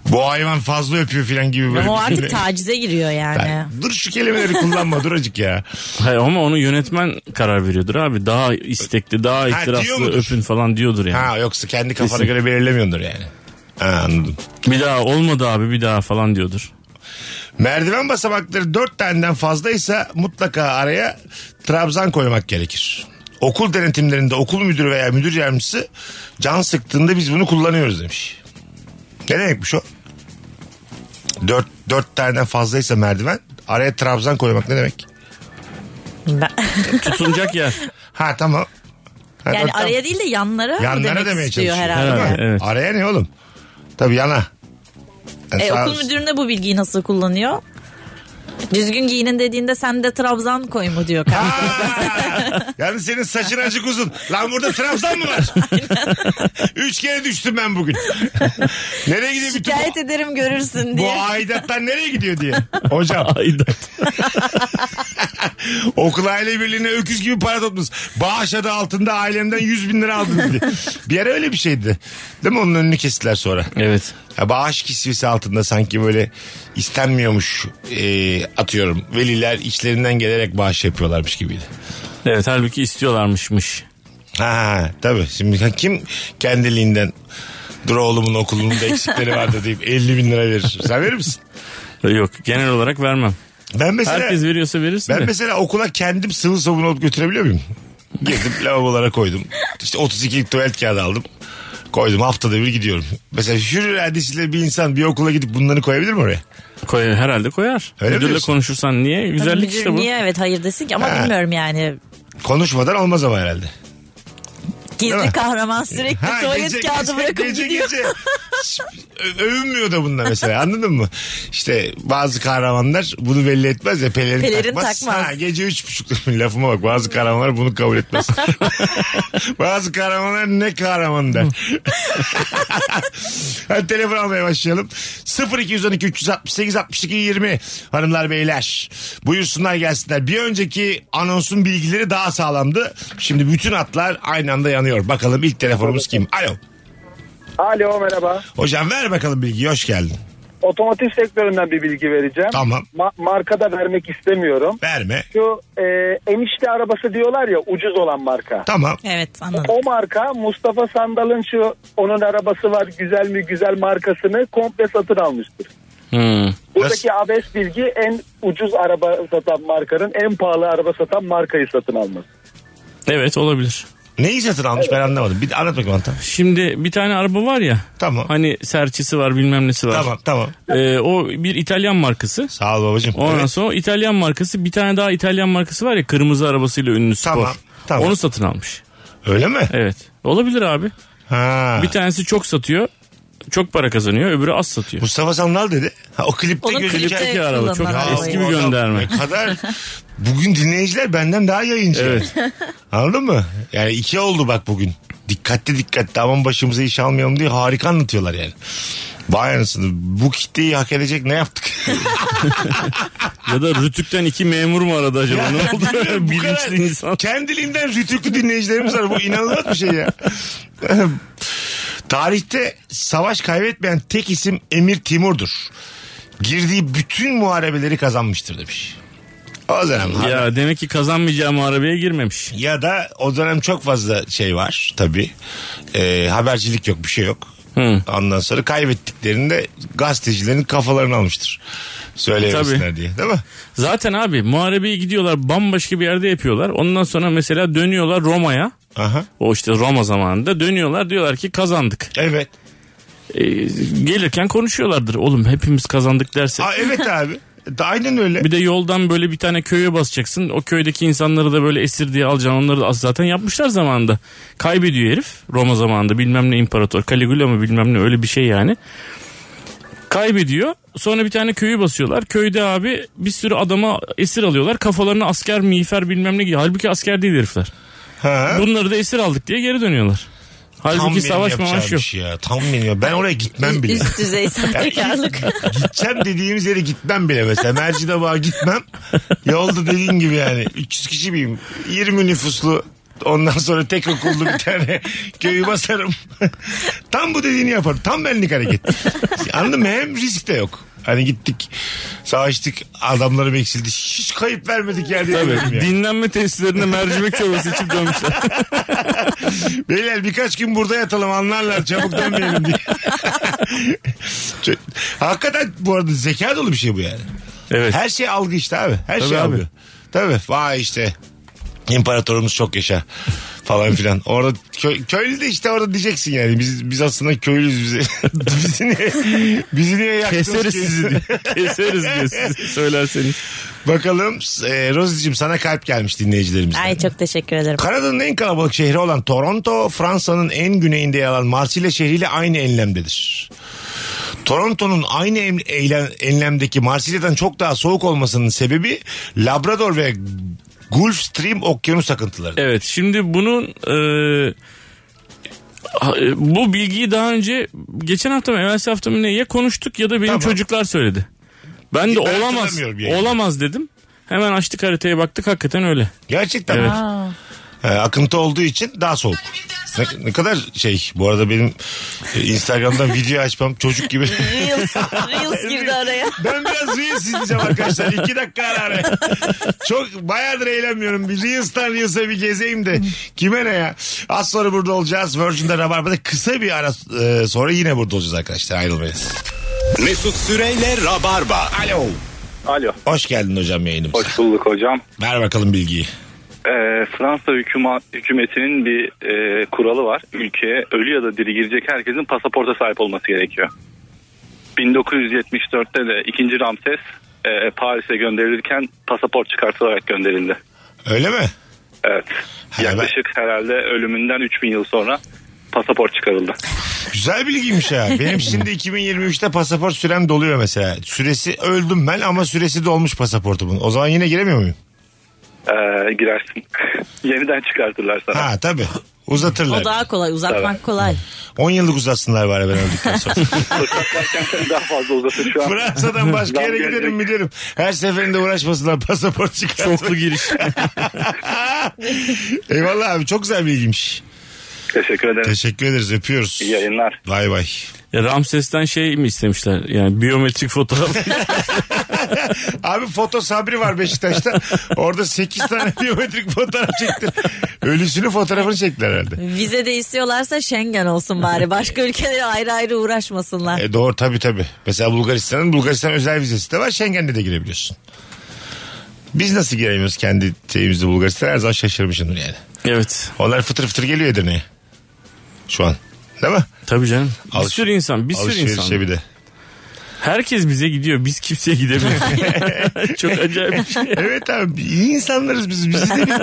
[SPEAKER 3] Bu hayvan fazla öpüyor filan gibi böyle.
[SPEAKER 4] ama o
[SPEAKER 3] bir şey- cümle.
[SPEAKER 4] artık tacize giriyor yani.
[SPEAKER 3] Yani Dur şu kelimeleri kullanma dur acık ya.
[SPEAKER 5] Hayır ama onu yönetmen karar veriyordur abi. Daha istekli, daha
[SPEAKER 3] diyor
[SPEAKER 5] ihtiraslı
[SPEAKER 3] mudur?
[SPEAKER 5] öpün falan diyordur yani.
[SPEAKER 3] Ha yoksa kendi kafana
[SPEAKER 5] Kesin.
[SPEAKER 3] göre belirlemiyordur yani. Ha, anladım.
[SPEAKER 5] Bir daha olmadı abi bir daha falan diyordur.
[SPEAKER 3] Merdiven basamakları dört taneden fazlaysa mutlaka araya trabzan koymak gerekir. Okul denetimlerinde okul müdürü veya müdür yardımcısı can sıktığında biz bunu kullanıyoruz demiş. Ne demekmiş o? Dört, dört taneden fazlaysa merdiven araya trabzan koymak ne demek?
[SPEAKER 4] Ben-
[SPEAKER 5] Tutunacak yer.
[SPEAKER 3] Ha tamam. Ha,
[SPEAKER 4] yani
[SPEAKER 3] dört tan-
[SPEAKER 4] araya değil de yanlara, mı
[SPEAKER 3] yanlara
[SPEAKER 4] demek
[SPEAKER 3] demeye
[SPEAKER 4] istiyor
[SPEAKER 3] çalışıyor.
[SPEAKER 4] herhalde.
[SPEAKER 5] Herhalde. Evet.
[SPEAKER 3] Araya ne oğlum? Tabii yana. Yani
[SPEAKER 4] E,
[SPEAKER 3] sağ-
[SPEAKER 4] okul müdürüne bu bilgiyi nasıl kullanıyor? Düzgün giyinin dediğinde sen de trabzan koy mu diyor. kanka.
[SPEAKER 3] Aa! yani senin saçın acık uzun. Lan burada trabzan mı var? Üç kere düştüm ben bugün. nereye gidiyor bütün
[SPEAKER 4] Şikayet
[SPEAKER 3] bu,
[SPEAKER 4] ederim görürsün
[SPEAKER 3] bu
[SPEAKER 4] diye.
[SPEAKER 3] aidatlar nereye gidiyor diye. Hocam
[SPEAKER 5] Aidat.
[SPEAKER 3] okul aile birliğine öküz gibi para topladınız. Bağış adı altında ailemden 100 bin lira aldınız diye. Bir ara öyle bir şeydi. Değil mi? Onun önünü kestiler sonra.
[SPEAKER 5] Evet.
[SPEAKER 3] Ya bağış kisvesi altında sanki böyle istenmiyormuş e, atıyorum. Veliler içlerinden gelerek bağış yapıyorlarmış gibiydi.
[SPEAKER 5] Evet halbuki istiyorlarmışmış.
[SPEAKER 3] Ha tabii. Şimdi kim kendiliğinden dur oğlumun okulunun da eksikleri vardı deyip 50 bin lira verir. Sen verir misin?
[SPEAKER 5] Yok genel olarak vermem.
[SPEAKER 3] Ben mesela
[SPEAKER 5] Herkes veriyorsa verirsin
[SPEAKER 3] ben
[SPEAKER 5] de.
[SPEAKER 3] mesela okula kendim sıvı sabun alıp götürebiliyor muyum? Girdim lavabolara koydum. İşte 32'lik tuvalet kağıdı aldım. Koydum haftada bir gidiyorum. Mesela hür iradesiyle bir insan bir okula gidip bunları koyabilir mi oraya?
[SPEAKER 5] Koy, herhalde koyar.
[SPEAKER 3] Öyle mi
[SPEAKER 5] Müdürle
[SPEAKER 3] diyorsun?
[SPEAKER 5] konuşursan niye?
[SPEAKER 4] Müdür
[SPEAKER 5] Güzellik işte bu.
[SPEAKER 4] Niye evet hayır desin ki ama
[SPEAKER 3] Ha.
[SPEAKER 4] bilmiyorum yani.
[SPEAKER 3] Konuşmadan olmaz ama herhalde. Değil mi?
[SPEAKER 4] Gizli kahraman sürekli
[SPEAKER 3] Ha,
[SPEAKER 4] tuvalet
[SPEAKER 3] gece-
[SPEAKER 4] kağıdı
[SPEAKER 3] gece-
[SPEAKER 4] bırakıp
[SPEAKER 3] gece,
[SPEAKER 4] gidiyor.
[SPEAKER 3] Gece Ö- övünmüyor da bununla mesela anladın mı? İşte bazı kahramanlar bunu belli etmez ya pelerin,
[SPEAKER 4] Pelerin
[SPEAKER 3] takmaz.
[SPEAKER 4] takmaz.
[SPEAKER 3] Ha, gece üç buçuk lafıma bak bazı kahramanlar bunu kabul etmez. bazı kahramanlar ne kahraman der. Hadi telefon almaya başlayalım. 0212 368 62 20 hanımlar beyler buyursunlar gelsinler. Bir önceki anonsun bilgileri daha sağlamdı. Şimdi bütün atlar aynı anda yanıyor. Bakalım ilk telefonumuz kim? Alo.
[SPEAKER 11] Alo merhaba.
[SPEAKER 3] Hocam ver bakalım bilgiyi hoş geldin.
[SPEAKER 11] Otomotiv sektöründen bir bilgi vereceğim.
[SPEAKER 3] Tamam.
[SPEAKER 11] Ma- marka da vermek istemiyorum.
[SPEAKER 3] Verme.
[SPEAKER 11] Şu e, enişte arabası diyorlar ya ucuz olan marka.
[SPEAKER 3] Tamam.
[SPEAKER 4] Evet anladım.
[SPEAKER 11] O marka Mustafa Sandal'ın şu onun arabası var güzel mi güzel markasını komple satın almıştır.
[SPEAKER 5] Hmm.
[SPEAKER 11] Buradaki abes bilgi en ucuz araba satan markanın en pahalı araba satan markayı satın alması.
[SPEAKER 5] Evet olabilir.
[SPEAKER 3] Neyi satın almış ben anlamadım. Bir de anlat bakayım Antan.
[SPEAKER 5] Şimdi bir tane araba var ya.
[SPEAKER 3] Tamam.
[SPEAKER 5] Hani serçesi var bilmem nesi var.
[SPEAKER 3] Tamam tamam.
[SPEAKER 5] Ee, o bir İtalyan markası.
[SPEAKER 3] Sağ ol babacığım.
[SPEAKER 5] Ondan
[SPEAKER 3] Evet.
[SPEAKER 5] sonra o İtalyan markası bir tane daha İtalyan markası var ya kırmızı arabasıyla ünlü spor.
[SPEAKER 3] Tamam, tamam.
[SPEAKER 5] Onu satın almış.
[SPEAKER 3] Öyle mi?
[SPEAKER 5] Evet. Olabilir abi.
[SPEAKER 3] Ha.
[SPEAKER 5] Bir tanesi çok satıyor. Çok para kazanıyor. Öbürü az satıyor.
[SPEAKER 3] Mustafa Sandal dedi. Ha, o klipte
[SPEAKER 4] Onun
[SPEAKER 3] gözüken.
[SPEAKER 4] klipte
[SPEAKER 5] Eski araba, çok
[SPEAKER 4] kullanılan
[SPEAKER 5] eski
[SPEAKER 4] arabayı.
[SPEAKER 5] bir
[SPEAKER 3] Adam
[SPEAKER 5] gönderme.
[SPEAKER 3] Ne kadar bugün dinleyiciler benden daha yayıncı.
[SPEAKER 5] Evet.
[SPEAKER 3] Anladın mı? Yani iki oldu bak bugün. Dikkatli dikkatli aman başımıza iş almayalım diye harika anlatıyorlar yani. Vay anasını bu kitleyi hak edecek ne yaptık?
[SPEAKER 5] Ya da Rütük'ten iki memur mu aradı acaba? Ne oldu?
[SPEAKER 3] Bu kadar
[SPEAKER 5] Bilinçli insan.
[SPEAKER 3] Kendiliğinden rütüklü dinleyicilerimiz var. Bu inanılmaz bir şey ya. Tarihte savaş kaybetmeyen tek isim Emir Timur'dur. Girdiği bütün muharebeleri kazanmıştır demiş. O dönem ya.
[SPEAKER 5] Ya demek ki kazanmayacağım arabaya girmemiş.
[SPEAKER 3] ya da o dönem çok fazla şey var tabii. Ee, habercilik yok bir şey yok.
[SPEAKER 5] Hı.
[SPEAKER 3] Ondan sonra kaybettiklerinde gazetecilerin kafalarını almıştır. Söyleyemesinler
[SPEAKER 5] Tabii.
[SPEAKER 3] diye değil mi?
[SPEAKER 5] Zaten abi muharebeye gidiyorlar bambaşka bir yerde yapıyorlar. Ondan sonra mesela dönüyorlar Roma'ya.
[SPEAKER 3] Aha.
[SPEAKER 5] O işte Roma zamanında dönüyorlar diyorlar ki kazandık.
[SPEAKER 3] Evet.
[SPEAKER 5] Ee, gelirken konuşuyorlardır. Oğlum hepimiz kazandık derse.
[SPEAKER 3] Aa, evet abi. Da- Aynen öyle.
[SPEAKER 5] Bir de yoldan böyle bir tane köye basacaksın. O köydeki insanları da böyle esir diye alacaksın. Onları da az zaten yapmışlar zamanında. Kaybediyor herif Roma zamanında. Bilmem ne imparator. Caligula mı bilmem ne öyle bir şey yani. Kaybediyor. Sonra bir tane köyü basıyorlar. Köyde abi bir sürü adama esir alıyorlar. Kafalarına asker miğfer bilmem ne giyiyor. Halbuki asker değil herifler.
[SPEAKER 3] Ha.
[SPEAKER 5] Bunları da esir aldık diye geri dönüyorlar.
[SPEAKER 3] Tam
[SPEAKER 5] Halbuki
[SPEAKER 3] benim
[SPEAKER 5] savaş
[SPEAKER 3] yapacağım
[SPEAKER 5] mamaş
[SPEAKER 3] bir
[SPEAKER 5] yok.
[SPEAKER 3] şey Ya. Tam benim ya. Ben oraya gitmem bile.
[SPEAKER 4] Üst düzey sahtekarlık.
[SPEAKER 3] Gideceğim dediğimiz yere gitmem bile mesela. Mercidabağ'a gitmem. Yolda dediğin gibi yani. 300 kişi miyim? 20 nüfuslu Ondan sonra tek okullu bir tane köyü basarım. Tam bu dediğini yaparım. Tam benlik hareket. Anladın mı? Hem risk de yok. Hani gittik savaştık adamlarım eksildi. Hiç kayıp vermedik yerde. yemedim yani.
[SPEAKER 5] Dinlenme tesislerinde mercimek çorbası içip dönmüşler.
[SPEAKER 3] Beyler birkaç gün burada yatalım anlarlar çabuk dönmeyelim diye. Çok- Hakikaten bu arada zeka dolu bir şey bu yani.
[SPEAKER 5] Evet.
[SPEAKER 3] Her şey algı işte abi. Her
[SPEAKER 5] Tabii
[SPEAKER 3] şey
[SPEAKER 5] abi.
[SPEAKER 3] algı. Tabii. Vay işte. İmparatorumuz çok yaşa falan filan. Orada kö- köylü de işte orada diyeceksin yani. Biz biz aslında köylüyüz bizi. bizi niye, bizi niye yaktınız
[SPEAKER 5] Keseriz
[SPEAKER 3] ki?
[SPEAKER 5] sizi diye. Keseriz diye sizi söylerseniz.
[SPEAKER 3] Bakalım e, Rozi'cim sana kalp gelmiş dinleyicilerimizden.
[SPEAKER 4] Ay çok teşekkür ederim.
[SPEAKER 3] Kanada'nın en kalabalık şehri olan Toronto, Fransa'nın en güneyinde yer alan Marsilya şehriyle aynı enlemdedir. Toronto'nun aynı em- eylem- enlemdeki Marsilya'dan çok daha soğuk olmasının sebebi Labrador ve Gulf Stream okyanus akıntıları.
[SPEAKER 5] Evet şimdi bunun e, ha- e, bu bilgiyi daha önce geçen hafta mı evvelsi hafta mı ne ya konuştuk ya da benim
[SPEAKER 3] Tamam.
[SPEAKER 5] çocuklar söyledi. Ben de
[SPEAKER 3] Ben
[SPEAKER 5] olamaz
[SPEAKER 3] hatırlamıyorum yayını.
[SPEAKER 5] olamaz dedim. Hemen açtık haritaya baktık hakikaten öyle.
[SPEAKER 3] Gerçekten mi? Ee, akıntı olduğu için daha soğuk. Ne, ne kadar şey bu arada benim e, Instagram'dan video açmam çocuk gibi.
[SPEAKER 4] Reels, Reels girdi araya.
[SPEAKER 3] Ben biraz Reels izleyeceğim arkadaşlar. İki dakika ara ara. Çok bayağıdır eğlenmiyorum. Bir Reels'tan Reels'e bir gezeyim de. Kime ne ya? Az sonra burada olacağız. Virgin'de Rabarba'da kısa bir ara e, sonra yine burada olacağız arkadaşlar. Ayrılmayız.
[SPEAKER 2] Mesut Süreyle Rabarba.
[SPEAKER 3] Alo.
[SPEAKER 11] Alo.
[SPEAKER 3] Hoş geldin hocam yayınımıza.
[SPEAKER 11] Hoş bulduk hocam.
[SPEAKER 3] Ver bakalım bilgiyi.
[SPEAKER 11] Ee, Fransa hükuma, hükümetinin bir e, kuralı var. Ülkeye ölü ya da diri girecek herkesin pasaporta sahip olması gerekiyor. 1974'te de 2. Ramses e, Paris'e gönderilirken pasaport çıkartılarak gönderildi.
[SPEAKER 3] Öyle mi?
[SPEAKER 11] Evet.
[SPEAKER 3] Ha,
[SPEAKER 11] Yaklaşık herhalde ölümünden 3000 yıl sonra pasaport çıkarıldı.
[SPEAKER 3] Güzel bilgiymiş ha. Benim şimdi 2023'te pasaport sürem doluyor mesela. Süresi öldüm ben ama süresi dolmuş pasaportumun. O zaman yine giremiyor muyum?
[SPEAKER 11] Ee, girersin. Yeniden çıkartırlar sana.
[SPEAKER 3] Ha tabii. Uzatırlar.
[SPEAKER 4] O daha kolay uzatmak kolay.
[SPEAKER 3] 10 yıllık uzatsınlar bari ben öldükten sonra.
[SPEAKER 11] Fırsatlarken seni daha fazla uzatır şu an.
[SPEAKER 3] Fransa'dan başka
[SPEAKER 11] Zam
[SPEAKER 3] yere
[SPEAKER 11] gelecek.
[SPEAKER 3] giderim bilirim. Her seferinde uğraşmasınlar pasaport çıkartmak.
[SPEAKER 5] Çoklu giriş.
[SPEAKER 3] Eyvallah abi çok güzel bilgiymiş.
[SPEAKER 11] Teşekkür ederim.
[SPEAKER 3] Teşekkür ederiz öpüyoruz.
[SPEAKER 11] İyi yayınlar.
[SPEAKER 3] Bay bay.
[SPEAKER 5] Ya Ramses'ten şey mi istemişler yani biyometrik fotoğraf.
[SPEAKER 3] Abi foto sabri var Beşiktaş'ta. Orada 8 tane biyometrik fotoğraf çekti. Ölüsünü fotoğrafını çektiler herhalde.
[SPEAKER 4] Vize de istiyorlarsa Schengen olsun bari. Başka ülkelere ayrı ayrı uğraşmasınlar.
[SPEAKER 3] E doğru tabii tabii. Mesela Bulgaristan'ın Bulgaristan özel vizesi de var. Schengen'de de girebiliyorsun. Biz nasıl giremiyoruz kendi şeyimizde Bulgaristan her zaman şaşırmışımdır yani.
[SPEAKER 5] Evet.
[SPEAKER 3] Onlar fıtır fıtır geliyor Edirne'ye. Şu an. Değil mi?
[SPEAKER 5] Tabii canım. Bir
[SPEAKER 3] Alış-
[SPEAKER 5] sürü insan, bir sürü
[SPEAKER 3] Alışverişe
[SPEAKER 5] insan.
[SPEAKER 3] bir de.
[SPEAKER 5] Herkes bize gidiyor. Biz kimseye gidemiyoruz. Çok acayip bir şey.
[SPEAKER 3] Evet abi iyi insanlarız biz. Bizi de bir...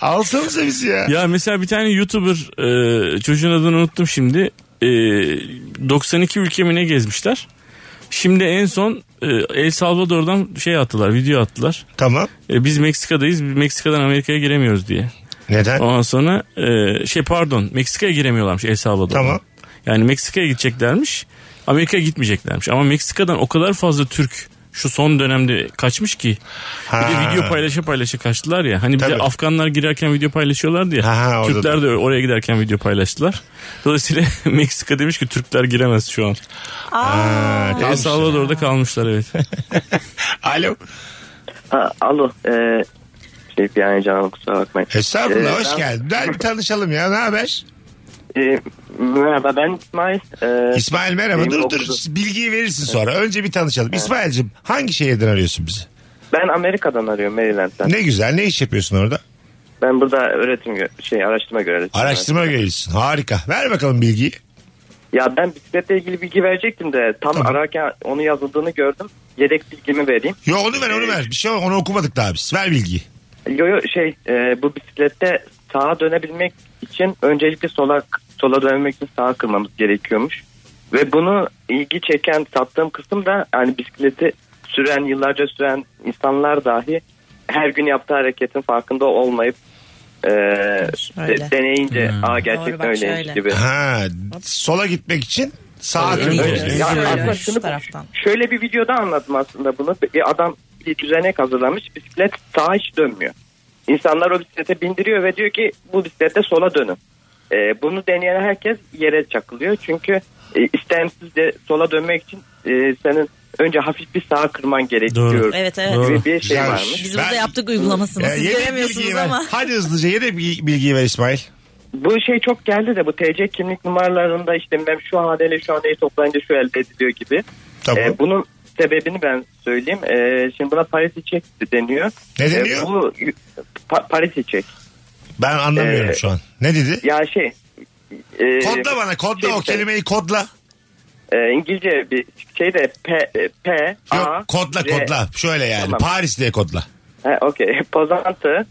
[SPEAKER 3] Alsanıza bizi ya.
[SPEAKER 5] Ya mesela bir tane YouTuber e, çocuğun adını unuttum şimdi. E, 92 ülke mi ne gezmişler. Şimdi en son e, El Salvador'dan şey attılar, video attılar.
[SPEAKER 3] Tamam.
[SPEAKER 5] E, biz Meksika'dayız, biz Meksika'dan Amerika'ya giremiyoruz diye.
[SPEAKER 3] Neden?
[SPEAKER 5] Ondan sonra e, şey pardon Meksika'ya giremiyorlarmış El Salvador'dan.
[SPEAKER 3] Tamam.
[SPEAKER 5] Yani Meksika'ya gideceklermiş. Amerika'ya gitmeyeceklermiş. Ama Meksika'dan o kadar fazla Türk şu son dönemde kaçmış ki. Bir de
[SPEAKER 3] Ha.
[SPEAKER 5] video paylaşa paylaşa kaçtılar ya. Hani bize
[SPEAKER 3] Tabii.
[SPEAKER 5] Afganlar girerken video paylaşıyorlardı ya.
[SPEAKER 3] Ha, ha, orada
[SPEAKER 5] Türkler de oraya giderken video paylaştılar. Dolayısıyla Meksika demiş ki Türkler giremez şu an.
[SPEAKER 3] Ha,
[SPEAKER 5] El
[SPEAKER 3] kalmışlar.
[SPEAKER 5] Salvador'da kalmışlar evet.
[SPEAKER 3] Alo.
[SPEAKER 11] Ha, alo. Ee, şey yani canım kusura bakmayın.
[SPEAKER 3] Estağfurullah
[SPEAKER 11] Ee,
[SPEAKER 3] hoş
[SPEAKER 11] ben-
[SPEAKER 3] geldin. Hadi bir tanışalım ya ne haber?
[SPEAKER 11] Ee, merhaba ben İsmail. Ee,
[SPEAKER 3] İsmail merhaba
[SPEAKER 11] benim
[SPEAKER 3] dur dur
[SPEAKER 11] okuduğum-
[SPEAKER 3] bilgiyi verirsin sonra. Önce bir tanışalım. İsmail'cim hangi şehirden arıyorsun bizi?
[SPEAKER 11] Ben Amerika'dan arıyorum Maryland'den.
[SPEAKER 3] Ne güzel ne iş yapıyorsun orada?
[SPEAKER 11] Ben burada öğretim gö- şey araştırma görevlisiyim.
[SPEAKER 3] Araştırma görevlisin harika. Ver bakalım bilgiyi.
[SPEAKER 11] Ya ben bisikletle ilgili bilgi verecektim de tam
[SPEAKER 3] Tamam.
[SPEAKER 11] ararken onu yazıldığını gördüm. Yedek bilgimi vereyim.
[SPEAKER 3] Yo onu ver onu ver. Bir şey onu okumadık daha biz. Ver bilgiyi.
[SPEAKER 11] Yo yo şey e, bu bisiklette sağa dönebilmek için öncelikle sola sola dönmek için sağa kırmamız gerekiyormuş. Ve bunu ilgi çeken sattığım kısım da yani bisikleti süren yıllarca süren insanlar dahi her gün yaptığı hareketin farkında olmayıp e,
[SPEAKER 4] Öyle.
[SPEAKER 11] deneyince aa gerçekten
[SPEAKER 4] Doğru, bak
[SPEAKER 11] öyleymiş
[SPEAKER 4] şöyle.
[SPEAKER 11] gibi.
[SPEAKER 3] Hmm. Ha sola gitmek için sağa
[SPEAKER 5] Tabii,
[SPEAKER 3] dönmek.
[SPEAKER 5] önce.
[SPEAKER 11] Ya
[SPEAKER 4] Şöyle,
[SPEAKER 11] aslında
[SPEAKER 4] şu
[SPEAKER 11] şunu-
[SPEAKER 4] taraftan.
[SPEAKER 11] Şöyle bir videoda anladım aslında bunu. Bir adam bir düzenek hazırlamış. Bisiklet sağa hiç dönmüyor. İnsanlar o bisiklete bindiriyor ve diyor ki bu bisiklette sola dönün. Ee, bunu deneyen herkes yere çakılıyor. Çünkü e, istemsiz de sola dönmek için e, senin önce hafif bir sağa kırman gerekiyor.
[SPEAKER 5] Doğru.
[SPEAKER 4] Evet evet.
[SPEAKER 5] Doğru.
[SPEAKER 11] Gibi bir şey
[SPEAKER 3] Güzelmiş.
[SPEAKER 11] varmış.
[SPEAKER 4] Biz
[SPEAKER 3] Ben-
[SPEAKER 4] burada yaptık uygulamasını.
[SPEAKER 3] Ee,
[SPEAKER 4] Siz
[SPEAKER 3] yedek
[SPEAKER 4] göremiyorsunuz
[SPEAKER 3] bilgiyi ver.
[SPEAKER 4] ama.
[SPEAKER 3] Hadi hızlıca yedek bilgi- bilgiyi ver İsmail.
[SPEAKER 11] Bu şey çok geldi de bu TC kimlik numaralarında işte bilmem şu haneyle şu haneyi toplayınca şu elde ediliyor gibi.
[SPEAKER 3] Tamam.
[SPEAKER 11] Ee, bunun sebebini ben söyleyeyim. Ee, şimdi buna parity check deniyor.
[SPEAKER 3] ne
[SPEAKER 11] Ee,
[SPEAKER 3] deniyor?
[SPEAKER 11] bu pa- parity check.
[SPEAKER 3] ben anlamıyorum
[SPEAKER 11] e,
[SPEAKER 3] şu an. Ne dedi?
[SPEAKER 11] Ya şey. e,
[SPEAKER 3] kodla bana kodla
[SPEAKER 11] şey
[SPEAKER 3] o
[SPEAKER 11] işte,
[SPEAKER 3] kelimeyi kodla.
[SPEAKER 11] e, İngilizce bir şey de P, e, P
[SPEAKER 3] Yok
[SPEAKER 11] A,
[SPEAKER 3] kodla
[SPEAKER 11] R.
[SPEAKER 3] kodla. Şöyle yani
[SPEAKER 11] E, Tamam.
[SPEAKER 3] Paris diye kodla.
[SPEAKER 11] He, okey. Pozantı.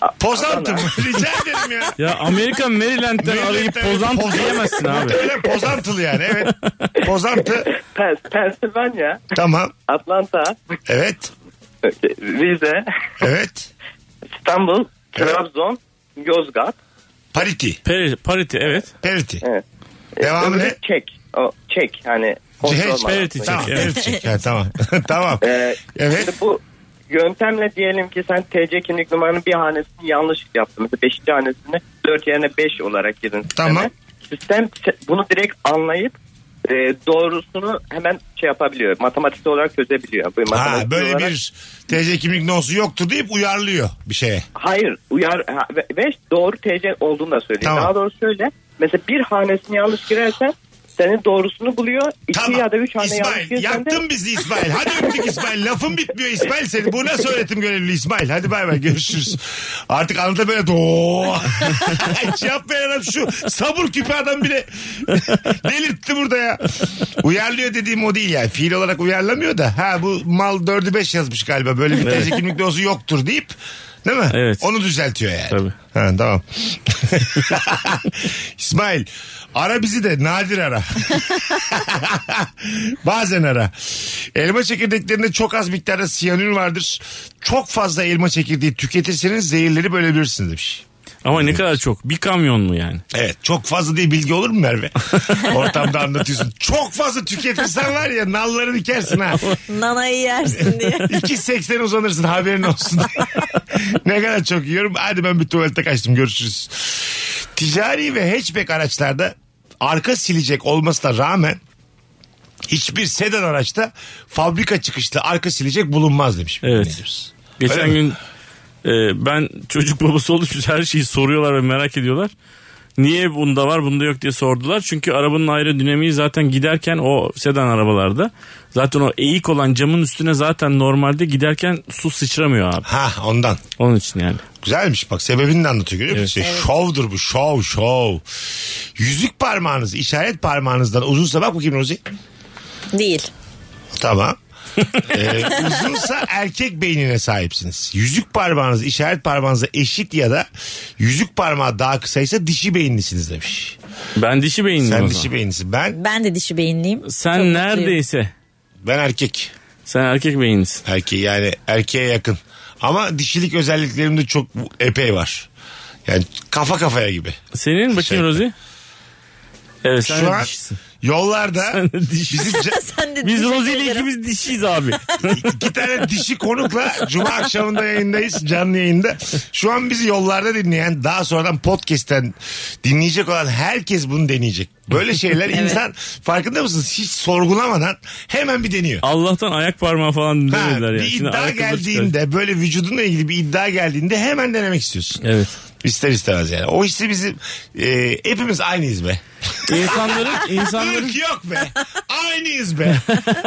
[SPEAKER 11] A-
[SPEAKER 3] Pozantı mı?
[SPEAKER 11] Adana.
[SPEAKER 3] Rica ederim ya.
[SPEAKER 5] Ya Amerika Maryland'den
[SPEAKER 3] Maryland'den
[SPEAKER 5] arayıp
[SPEAKER 3] evet,
[SPEAKER 5] pozantı
[SPEAKER 3] pozantı.
[SPEAKER 5] diyemezsin abi.
[SPEAKER 3] Öyle pozantılı yani evet. Pozantı.
[SPEAKER 11] Pens, Pennsylvania,
[SPEAKER 3] Tamam.
[SPEAKER 11] Atlanta,
[SPEAKER 3] Evet.
[SPEAKER 11] Rize,
[SPEAKER 3] Evet. E?
[SPEAKER 11] İstanbul, Trabzon, Yozgat.
[SPEAKER 3] Parity.
[SPEAKER 5] Peri- Parity evet.
[SPEAKER 3] Parity.
[SPEAKER 11] Evet.
[SPEAKER 3] Devamı ne?
[SPEAKER 11] Çek. E, O, çek hani. kontrol
[SPEAKER 3] Çek,
[SPEAKER 5] parity
[SPEAKER 11] manasında.
[SPEAKER 5] check.
[SPEAKER 3] Tamam.
[SPEAKER 5] Evet.
[SPEAKER 3] Parity check. Ha, tamam. tamam.
[SPEAKER 11] Ee,
[SPEAKER 3] Evet.
[SPEAKER 11] Şimdi bu yöntemle diyelim ki sen TC kimlik numaranın bir hanesini yanlış yaptın. Mesela beşinci hanesini dört yerine beş olarak girdin. sisteme.
[SPEAKER 3] Tamam.
[SPEAKER 11] Sistem se- bunu direkt anlayıp e, doğrusunu hemen şey yapabiliyor. Matematiksel olarak çözebiliyor. Bu
[SPEAKER 3] Ha,
[SPEAKER 11] matematiksel
[SPEAKER 3] böyle
[SPEAKER 11] olarak-
[SPEAKER 3] bir TC kimlik nosu yoktur deyip uyarlıyor bir şeye.
[SPEAKER 11] Hayır uyar ha, ve, ve doğru TC olduğunu da söyleyeyim.
[SPEAKER 3] Tamam.
[SPEAKER 11] Daha doğru söyle. Mesela bir hanesini yanlış girersen senin doğrusunu buluyor. İki
[SPEAKER 3] Tamam.
[SPEAKER 11] ya da üç hane yanlış
[SPEAKER 3] İsmail
[SPEAKER 11] girersen de
[SPEAKER 3] yaktın bizi İsmail. Hadi öptük İsmail. Lafın bitmiyor İsmail seni. Bu nasıl öğretim görevliliği İsmail? Hadi bay bay görüşürüz. Artık anlata böyle doğ. Hiç yapmayan adam şu. Sabır küpü adam bile delirtti burada ya. Uyarlıyor dediğim o değil yani. Fiil olarak uyarlamıyor da. Ha bu mal 4'ü 5 yazmış galiba. Böyle bir TC kimlik dozu yoktur deyip Değil mi?
[SPEAKER 5] Evet.
[SPEAKER 3] Onu düzeltiyor yani.
[SPEAKER 5] Tabii.
[SPEAKER 3] Ha, tamam. İsmail ara bizi de nadir ara. Bazen ara. Elma çekirdeklerinde çok az miktarda siyanür vardır. Çok fazla elma çekirdeği tüketirseniz zehirleri bölebilirsiniz demiş.
[SPEAKER 5] Ama ne kadar çok. Bir kamyon mu yani?
[SPEAKER 3] Evet çok fazla diye bilgi olur mu Merve? Ortamda anlatıyorsun. Çok fazla tüketirsen var ya nalları dikersin ha.
[SPEAKER 4] Nanayı yersin diye.
[SPEAKER 3] 2.80 uzanırsın haberin olsun. ne kadar çok yiyorum. Hadi ben bir tuvalete kaçtım görüşürüz. Ticari ve hatchback araçlarda arka silecek olmasına rağmen hiçbir sedan araçta fabrika çıkışlı arka silecek bulunmaz demiş.
[SPEAKER 5] Evet.
[SPEAKER 3] Dinleyicimiz.
[SPEAKER 5] Geçen
[SPEAKER 3] Öyle mi?
[SPEAKER 5] gün e, ben çocuk babası olduğum için her şeyi soruyorlar ve merak ediyorlar. Niye bunda var bunda yok diye sordular. Çünkü arabanın aerodinamiği zaten giderken o sedan arabalarda zaten o eğik olan camın üstüne zaten normalde giderken su sıçramıyor abi.
[SPEAKER 3] Ha ondan.
[SPEAKER 5] Onun için yani.
[SPEAKER 3] Güzelmiş bak sebebini de anlatıyor görüyor musun? İşte Şovdur bu şov şov. Yüzük parmağınız işaret parmağınızdan uzunsa bak bakayım Rozi.
[SPEAKER 4] Değil.
[SPEAKER 3] Tamam. Ee, uzunsa erkek beynine sahipsiniz. Yüzük parmağınız işaret parmağınıza eşit ya da yüzük parmağı daha kısaysa dişi beyinlisiniz demiş.
[SPEAKER 5] Ben dişi beyinliyim
[SPEAKER 3] Sen
[SPEAKER 5] Hmm, o
[SPEAKER 3] dişi
[SPEAKER 5] zaman.
[SPEAKER 3] beyinlisin. Ben
[SPEAKER 4] Ben de dişi beyinliyim.
[SPEAKER 5] Sen
[SPEAKER 4] Çok mutluyum.
[SPEAKER 5] neredeyse
[SPEAKER 3] ben erkek.
[SPEAKER 5] sen erkek beyinlisin.
[SPEAKER 3] Erkeği yani erkeğe yakın. Ama dişilik özelliklerimde çok epey var. Yani kafa kafaya gibi.
[SPEAKER 5] Senin
[SPEAKER 3] Şey-
[SPEAKER 5] bakayım Rozi. Evet sen
[SPEAKER 3] Şu
[SPEAKER 5] de
[SPEAKER 3] an
[SPEAKER 5] dişisin.
[SPEAKER 3] yollarda
[SPEAKER 5] Sen de dişisin.
[SPEAKER 3] bizim ca-
[SPEAKER 4] Sen de
[SPEAKER 5] Biz
[SPEAKER 4] teşekkür
[SPEAKER 5] Rozi ile
[SPEAKER 4] ederim.
[SPEAKER 5] ikimiz dişiyiz abi.
[SPEAKER 3] İki tane dişi konukla Cuma akşamında yayındayız canlı yayında. Şu an bizi yollarda dinleyen daha sonradan podcast'ten dinleyecek olan herkes bunu deneyecek. Böyle şeyler insan farkında mısınız? Hiç sorgulamadan hemen bir deniyor.
[SPEAKER 5] Allah'tan ayak parmağı falan
[SPEAKER 3] Ha,
[SPEAKER 5] demediler yani.
[SPEAKER 3] bir
[SPEAKER 5] Şimdi
[SPEAKER 3] iddia
[SPEAKER 5] ayakkabı
[SPEAKER 3] geldiğinde
[SPEAKER 5] çıkar.
[SPEAKER 3] böyle vücudunla ilgili bir iddia geldiğinde hemen denemek istiyorsun.
[SPEAKER 5] Evet.
[SPEAKER 3] İster istemez yani. O hissi bizim e, hepimiz aynıyız be.
[SPEAKER 5] İnsanların, insanların
[SPEAKER 3] Irk yok be. Aynıyız be.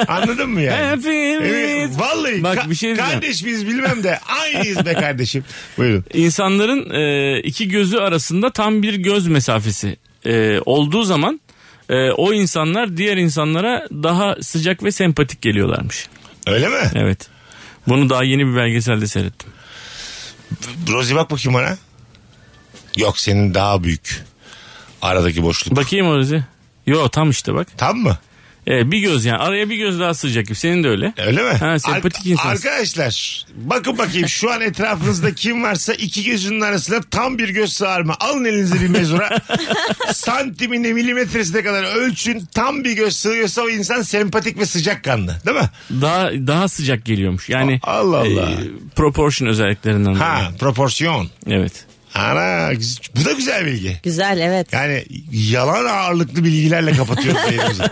[SPEAKER 3] Anladın mı yani?
[SPEAKER 5] Hepimiz.
[SPEAKER 3] Evet, vallahi
[SPEAKER 5] Bak
[SPEAKER 3] ka-
[SPEAKER 5] bir şey diyeceğim.
[SPEAKER 3] kardeş miyiz bilmem de aynıyız be kardeşim. Buyurun.
[SPEAKER 5] İnsanların e, iki gözü arasında tam bir göz mesafesi e, olduğu zaman e, o insanlar diğer insanlara daha sıcak ve sempatik geliyorlarmış.
[SPEAKER 3] Öyle mi?
[SPEAKER 5] Evet. Bunu daha yeni bir belgeselde seyrettim.
[SPEAKER 3] Rozi bak bakayım bana. Yok senin daha büyük. Aradaki boşluk.
[SPEAKER 5] Bakayım orası. Yo tam işte bak.
[SPEAKER 3] Tam mı?
[SPEAKER 5] E, bir göz yani araya bir göz daha sıcak gibi. Senin de öyle.
[SPEAKER 3] Öyle mi?
[SPEAKER 5] Ha, sempatik
[SPEAKER 3] Ar-
[SPEAKER 5] insan.
[SPEAKER 3] Arkadaşlar bakın bakayım şu an etrafınızda kim varsa iki gözünün arasına tam bir göz sığar mı? Alın elinize bir mezura. Santimine milimetresine kadar ölçün. Tam bir göz sığıyorsa o insan sempatik ve sıcakkanlı. Değil mi?
[SPEAKER 5] Daha daha sıcak geliyormuş. Yani e,
[SPEAKER 3] A- Allah Allah.
[SPEAKER 5] proportion özelliklerinden.
[SPEAKER 3] Ha
[SPEAKER 5] dolayı.
[SPEAKER 3] proporsiyon.
[SPEAKER 5] Evet.
[SPEAKER 3] Ana güz- bu da güzel bilgi.
[SPEAKER 4] Güzel evet.
[SPEAKER 3] Yani yalan ağırlıklı bilgilerle kapatıyoruz yayınımızı.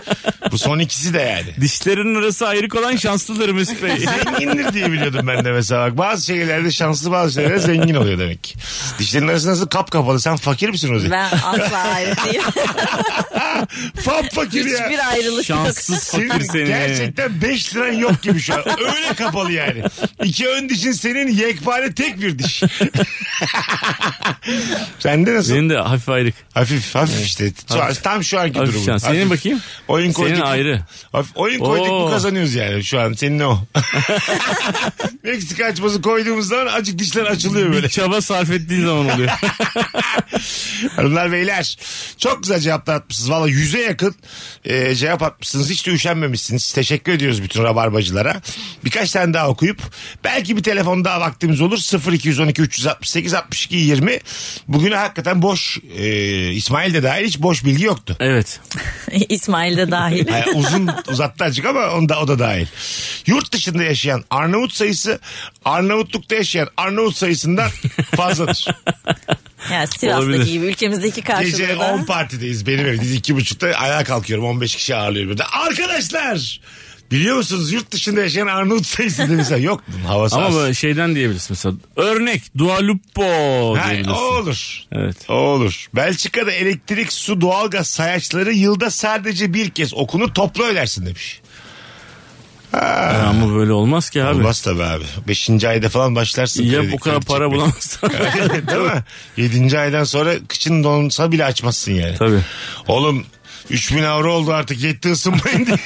[SPEAKER 3] Bu son ikisi de yani.
[SPEAKER 5] Dişlerin arası ayrık olan şanslıdır Mesut Bey.
[SPEAKER 3] Zengindir diye biliyordum ben de mesela. Bak, bazı şeylerde şanslı bazı şeylerde zengin oluyor demek ki. Dişlerin arası nasıl kap kapalı. Sen fakir misin Rozi?
[SPEAKER 4] Ben asla ayrı değilim.
[SPEAKER 3] Fap fakir ya.
[SPEAKER 4] Hiçbir ayrılık yok.
[SPEAKER 5] Şanssız fakir
[SPEAKER 3] Senin
[SPEAKER 5] seni.
[SPEAKER 3] gerçekten 5 liran yok gibi şu an. Öyle kapalı yani. İki ön dişin senin yekpare tek bir diş. Sende nasıl?
[SPEAKER 5] Senin de hafif ayrık.
[SPEAKER 3] Hafif hafif işte. Şu an-
[SPEAKER 5] Hafif.
[SPEAKER 3] tam şu anki
[SPEAKER 5] Hafif
[SPEAKER 3] durumun.
[SPEAKER 5] şans. Senin bakayım.
[SPEAKER 3] Oyun
[SPEAKER 5] Senin
[SPEAKER 3] koyduk. mu-
[SPEAKER 5] ayrı.
[SPEAKER 3] Hafif- oyun koyduk mu
[SPEAKER 5] Oo.
[SPEAKER 3] kazanıyoruz yani şu an. Senin o. Meksika açması koyduğumuz zaman acık dişler açılıyor böyle.
[SPEAKER 5] Bir çaba sarf ettiğin zaman oluyor.
[SPEAKER 3] Hanımlar beyler çok güzel cevaplar atmışsınız. Valla yüze yakın e, cevap atmışsınız. Hiç de üşenmemişsiniz. Teşekkür ediyoruz bütün rabarbacılara. Birkaç tane daha okuyup belki bir telefon daha vaktimiz olur. 0212 368 62 20. Bugün hakikaten boş e, İsmail de dahil hiç boş bilgi yoktu.
[SPEAKER 5] evet.
[SPEAKER 4] İsmail de dahil.
[SPEAKER 3] Hayır, uzun uzattı azıcık ama onda, o da dahil. Yurt dışında yaşayan Arnavut sayısı Arnavutluk'ta yaşayan Arnavut sayısından fazladır.
[SPEAKER 4] Yani Sivas'taki
[SPEAKER 5] Olabilir.
[SPEAKER 4] gibi ülkemizdeki
[SPEAKER 3] Gece
[SPEAKER 4] karşılığı da.
[SPEAKER 3] 10 partideyiz benim evimdeyiz. iki buçukta ayağa kalkıyorum. 15 kişi ağırlıyor burada. Arkadaşlar! Biliyor musunuz yurt dışında yaşayan Arnavut sayısı diye mesela yok. bunun Havası
[SPEAKER 5] Ama
[SPEAKER 3] az.
[SPEAKER 5] böyle şeyden diyebilirsin mesela. Örnek Dua Lupo
[SPEAKER 3] Ha,
[SPEAKER 5] şey diyebilirsin.
[SPEAKER 3] o olur.
[SPEAKER 5] Evet.
[SPEAKER 3] O olur. Belçika'da elektrik, su, doğalgaz sayaçları yılda sadece bir kez okunu toplu ödersin demiş.
[SPEAKER 5] Ama böyle Ah. olmaz ki abi.
[SPEAKER 3] Olmaz tabii abi. Beşinci ayda falan başlarsın.
[SPEAKER 5] Ya
[SPEAKER 3] kredi-
[SPEAKER 5] bu kadar
[SPEAKER 3] kredi
[SPEAKER 5] para
[SPEAKER 3] çekmeye.
[SPEAKER 5] bulamazsan.
[SPEAKER 3] Değil mi? Yedinci aydan sonra kıçın donsa bile açmazsın yani.
[SPEAKER 5] Tabii.
[SPEAKER 3] Oğlum 3000 avro oldu artık yetti ısınmayın diye.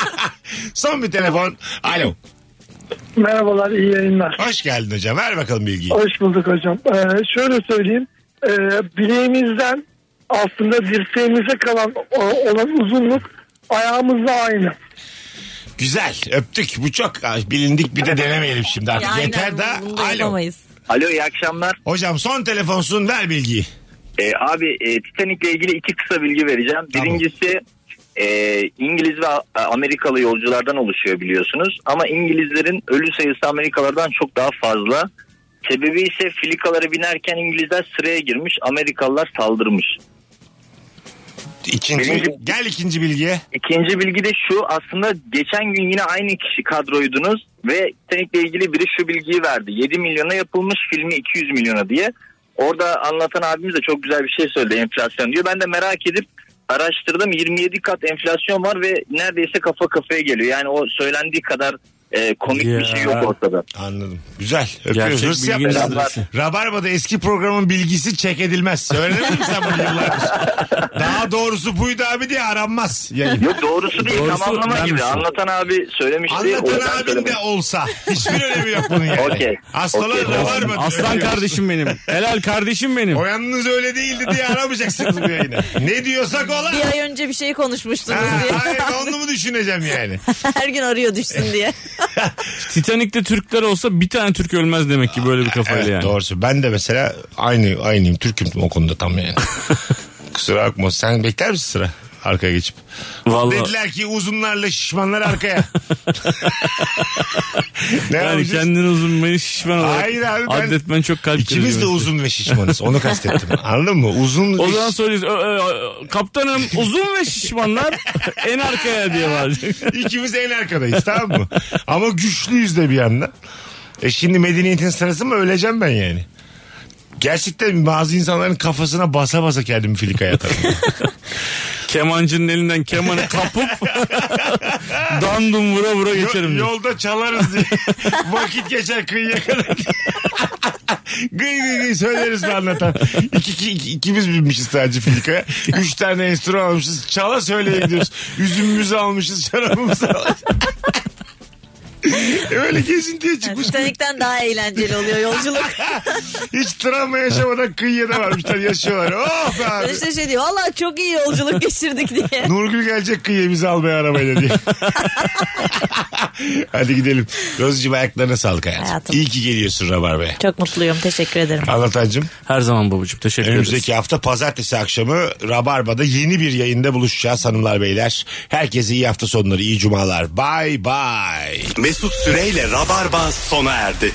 [SPEAKER 3] Son bir telefon. Alo.
[SPEAKER 9] Merhabalar iyi yayınlar.
[SPEAKER 3] Hoş geldin hocam. Ver bakalım bilgiyi.
[SPEAKER 9] Hoş bulduk hocam. Ee, şöyle söyleyeyim. Ee, bileğimizden aslında dirseğimize kalan o- olan uzunluk ayağımızla aynı.
[SPEAKER 3] Güzel. Öptük. Bu çok Ay, bilindik bir de denemeyelim şimdi artık.
[SPEAKER 4] Ya
[SPEAKER 3] Yeter
[SPEAKER 4] aynen,
[SPEAKER 3] da.
[SPEAKER 4] bunu da
[SPEAKER 3] Alo.
[SPEAKER 4] yapamayız.
[SPEAKER 11] Alo iyi akşamlar.
[SPEAKER 3] Hocam son telefonsun ver bilgiyi.
[SPEAKER 11] Ee, abi e, Titanic'le ilgili iki kısa bilgi vereceğim.
[SPEAKER 3] Tamam.
[SPEAKER 11] Birincisi e, İngiliz ve A- Amerikalı yolculardan oluşuyor biliyorsunuz. Ama İngilizlerin ölü sayısı Amerikalılardan çok daha fazla. Sebebi ise filikalara binerken İngilizler sıraya girmiş, Amerikalılar saldırmış.
[SPEAKER 3] İkinci,
[SPEAKER 11] Birinci-
[SPEAKER 3] Gel ikinci bilgiye.
[SPEAKER 11] İkinci bilgi de şu aslında geçen gün yine aynı kişi kadroydunuz ve Titanic'le ilgili biri şu bilgiyi verdi. 7 milyona yapılmış filmi 200 milyona diye.
[SPEAKER 12] Orada anlatan abimiz de çok güzel bir şey söyledi enflasyon diyor. Ben de merak edip araştırdım 27 kat enflasyon var ve neredeyse kafa kafaya geliyor. Yani o söylendiği kadar e, komik bir şey yok ortada.
[SPEAKER 3] Anladım. Güzel. Öpüyoruz.
[SPEAKER 5] Gerçek
[SPEAKER 3] Hırs
[SPEAKER 5] bilginin
[SPEAKER 3] yapmayın.
[SPEAKER 5] adresi.
[SPEAKER 3] Rabarba'da eski programın bilgisi çek edilmez. Öğrenemedin mi sen bunu yıllardır? Daha doğrusu buydu abi diye aranmaz. Yani
[SPEAKER 12] Yok doğrusu değil
[SPEAKER 5] Doğrusu
[SPEAKER 12] tamamlama
[SPEAKER 5] ben
[SPEAKER 12] gibi.
[SPEAKER 5] misin?
[SPEAKER 12] Anlatan abi söylemişti. o yüzden
[SPEAKER 3] anlatan abin
[SPEAKER 12] söylemedim.
[SPEAKER 3] de olsa. Hiçbir önemi yok bunun yani.
[SPEAKER 12] Okey.
[SPEAKER 3] Asıl olan
[SPEAKER 12] Okey.
[SPEAKER 3] Rabarba.
[SPEAKER 5] Aslan
[SPEAKER 3] Öyle
[SPEAKER 5] kardeşim benim. Helal kardeşim benim.
[SPEAKER 3] O yalnız öyle değildi diye aramayacaksınız bu yayını. Ne diyorsak olan.
[SPEAKER 4] Bir ay önce bir şey konuşmuştunuz diye.
[SPEAKER 3] Hayır onu mu düşüneceğim yani?
[SPEAKER 4] Her gün arıyor düşsün diye.
[SPEAKER 5] Titanik'te Türkler olsa bir tane Türk ölmez demek ki böyle bir kafayla
[SPEAKER 3] Evet
[SPEAKER 5] yani.
[SPEAKER 3] doğrusu. Ben de mesela aynı aynıyım. Türk'üm o konuda tam yani. Kusura bakma. Sen bekler misin sıra? Arkaya geçip.
[SPEAKER 5] Vallahi.
[SPEAKER 3] Dediler ki uzunlarla şişmanlar arkaya. ne
[SPEAKER 5] Yani
[SPEAKER 3] yapacağız?
[SPEAKER 5] kendini uzun beni şişman olarak
[SPEAKER 3] Hayır abi, ben-
[SPEAKER 5] adetmen çok kalp kırıcı
[SPEAKER 3] İkimiz de
[SPEAKER 5] mesela.
[SPEAKER 3] uzun ve şişmanız. Onu kastettim. Anladın mı? Uzun
[SPEAKER 5] O
[SPEAKER 3] ve
[SPEAKER 5] zaman söyleyeceğiz. "Ö, ö, ö, Kaptanım uzun ve şişmanlar en arkaya diye bağıracak.
[SPEAKER 3] İkimiz en arkadayız tamam mı? Ama güçlüyüz de bir yandan. E şimdi medeniyetin sırası mı öleceğim ben yani. Gerçekten bazı insanların kafasına basa basa kendimi filikaya atarım.
[SPEAKER 5] Kemancının elinden kemanı kapıp dandum vura vura
[SPEAKER 3] Yo-
[SPEAKER 5] geçerim. diyor.
[SPEAKER 3] yolda çalarız diye. Vakit geçer kıyıya kadar. gıy gıy gıy söyleriz de anlatan. İki, iki, iki- ikimiz binmişiz sadece filikaya. Üç tane enstrüman almışız. Çala söyleye gidiyoruz. Üzümümüzü almışız. Şarabımızı almışız. Öyle gezintiye çıkmış.
[SPEAKER 4] Titanik'ten daha eğlenceli oluyor yolculuk.
[SPEAKER 3] Hiç travma yaşamadan kıyıya da varmışlar yaşıyorlar. Oh be abi.
[SPEAKER 4] Sonuçta şey diyor. Valla çok iyi yolculuk geçirdik diye.
[SPEAKER 3] Nurgül gelecek kıyıya bizi almaya arabayla diye. Hadi gidelim. Rozcum ayaklarına sağlık hayatım.
[SPEAKER 4] Hayatım.
[SPEAKER 3] İyi ki geliyorsun Rabarba'ya.
[SPEAKER 4] Çok mutluyum. Teşekkür ederim.
[SPEAKER 3] Anlatancım
[SPEAKER 5] Her zaman babacığım teşekkür ederiz.
[SPEAKER 3] önümüzdeki hafta pazartesi akşamı Rabarba'da yeni bir yayında buluşacağız hanımlar beyler. Herkese iyi hafta sonları iyi cumalar. Bye bye.
[SPEAKER 2] Mesut Süreyle Rabarba sona erdi.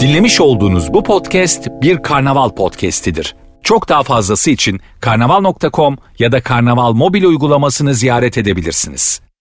[SPEAKER 1] Dinlemiş olduğunuz bu podcast bir karnaval podcastidir. Çok daha fazlası için karnaval.com ya da karnaval mobil uygulamasını ziyaret edebilirsiniz.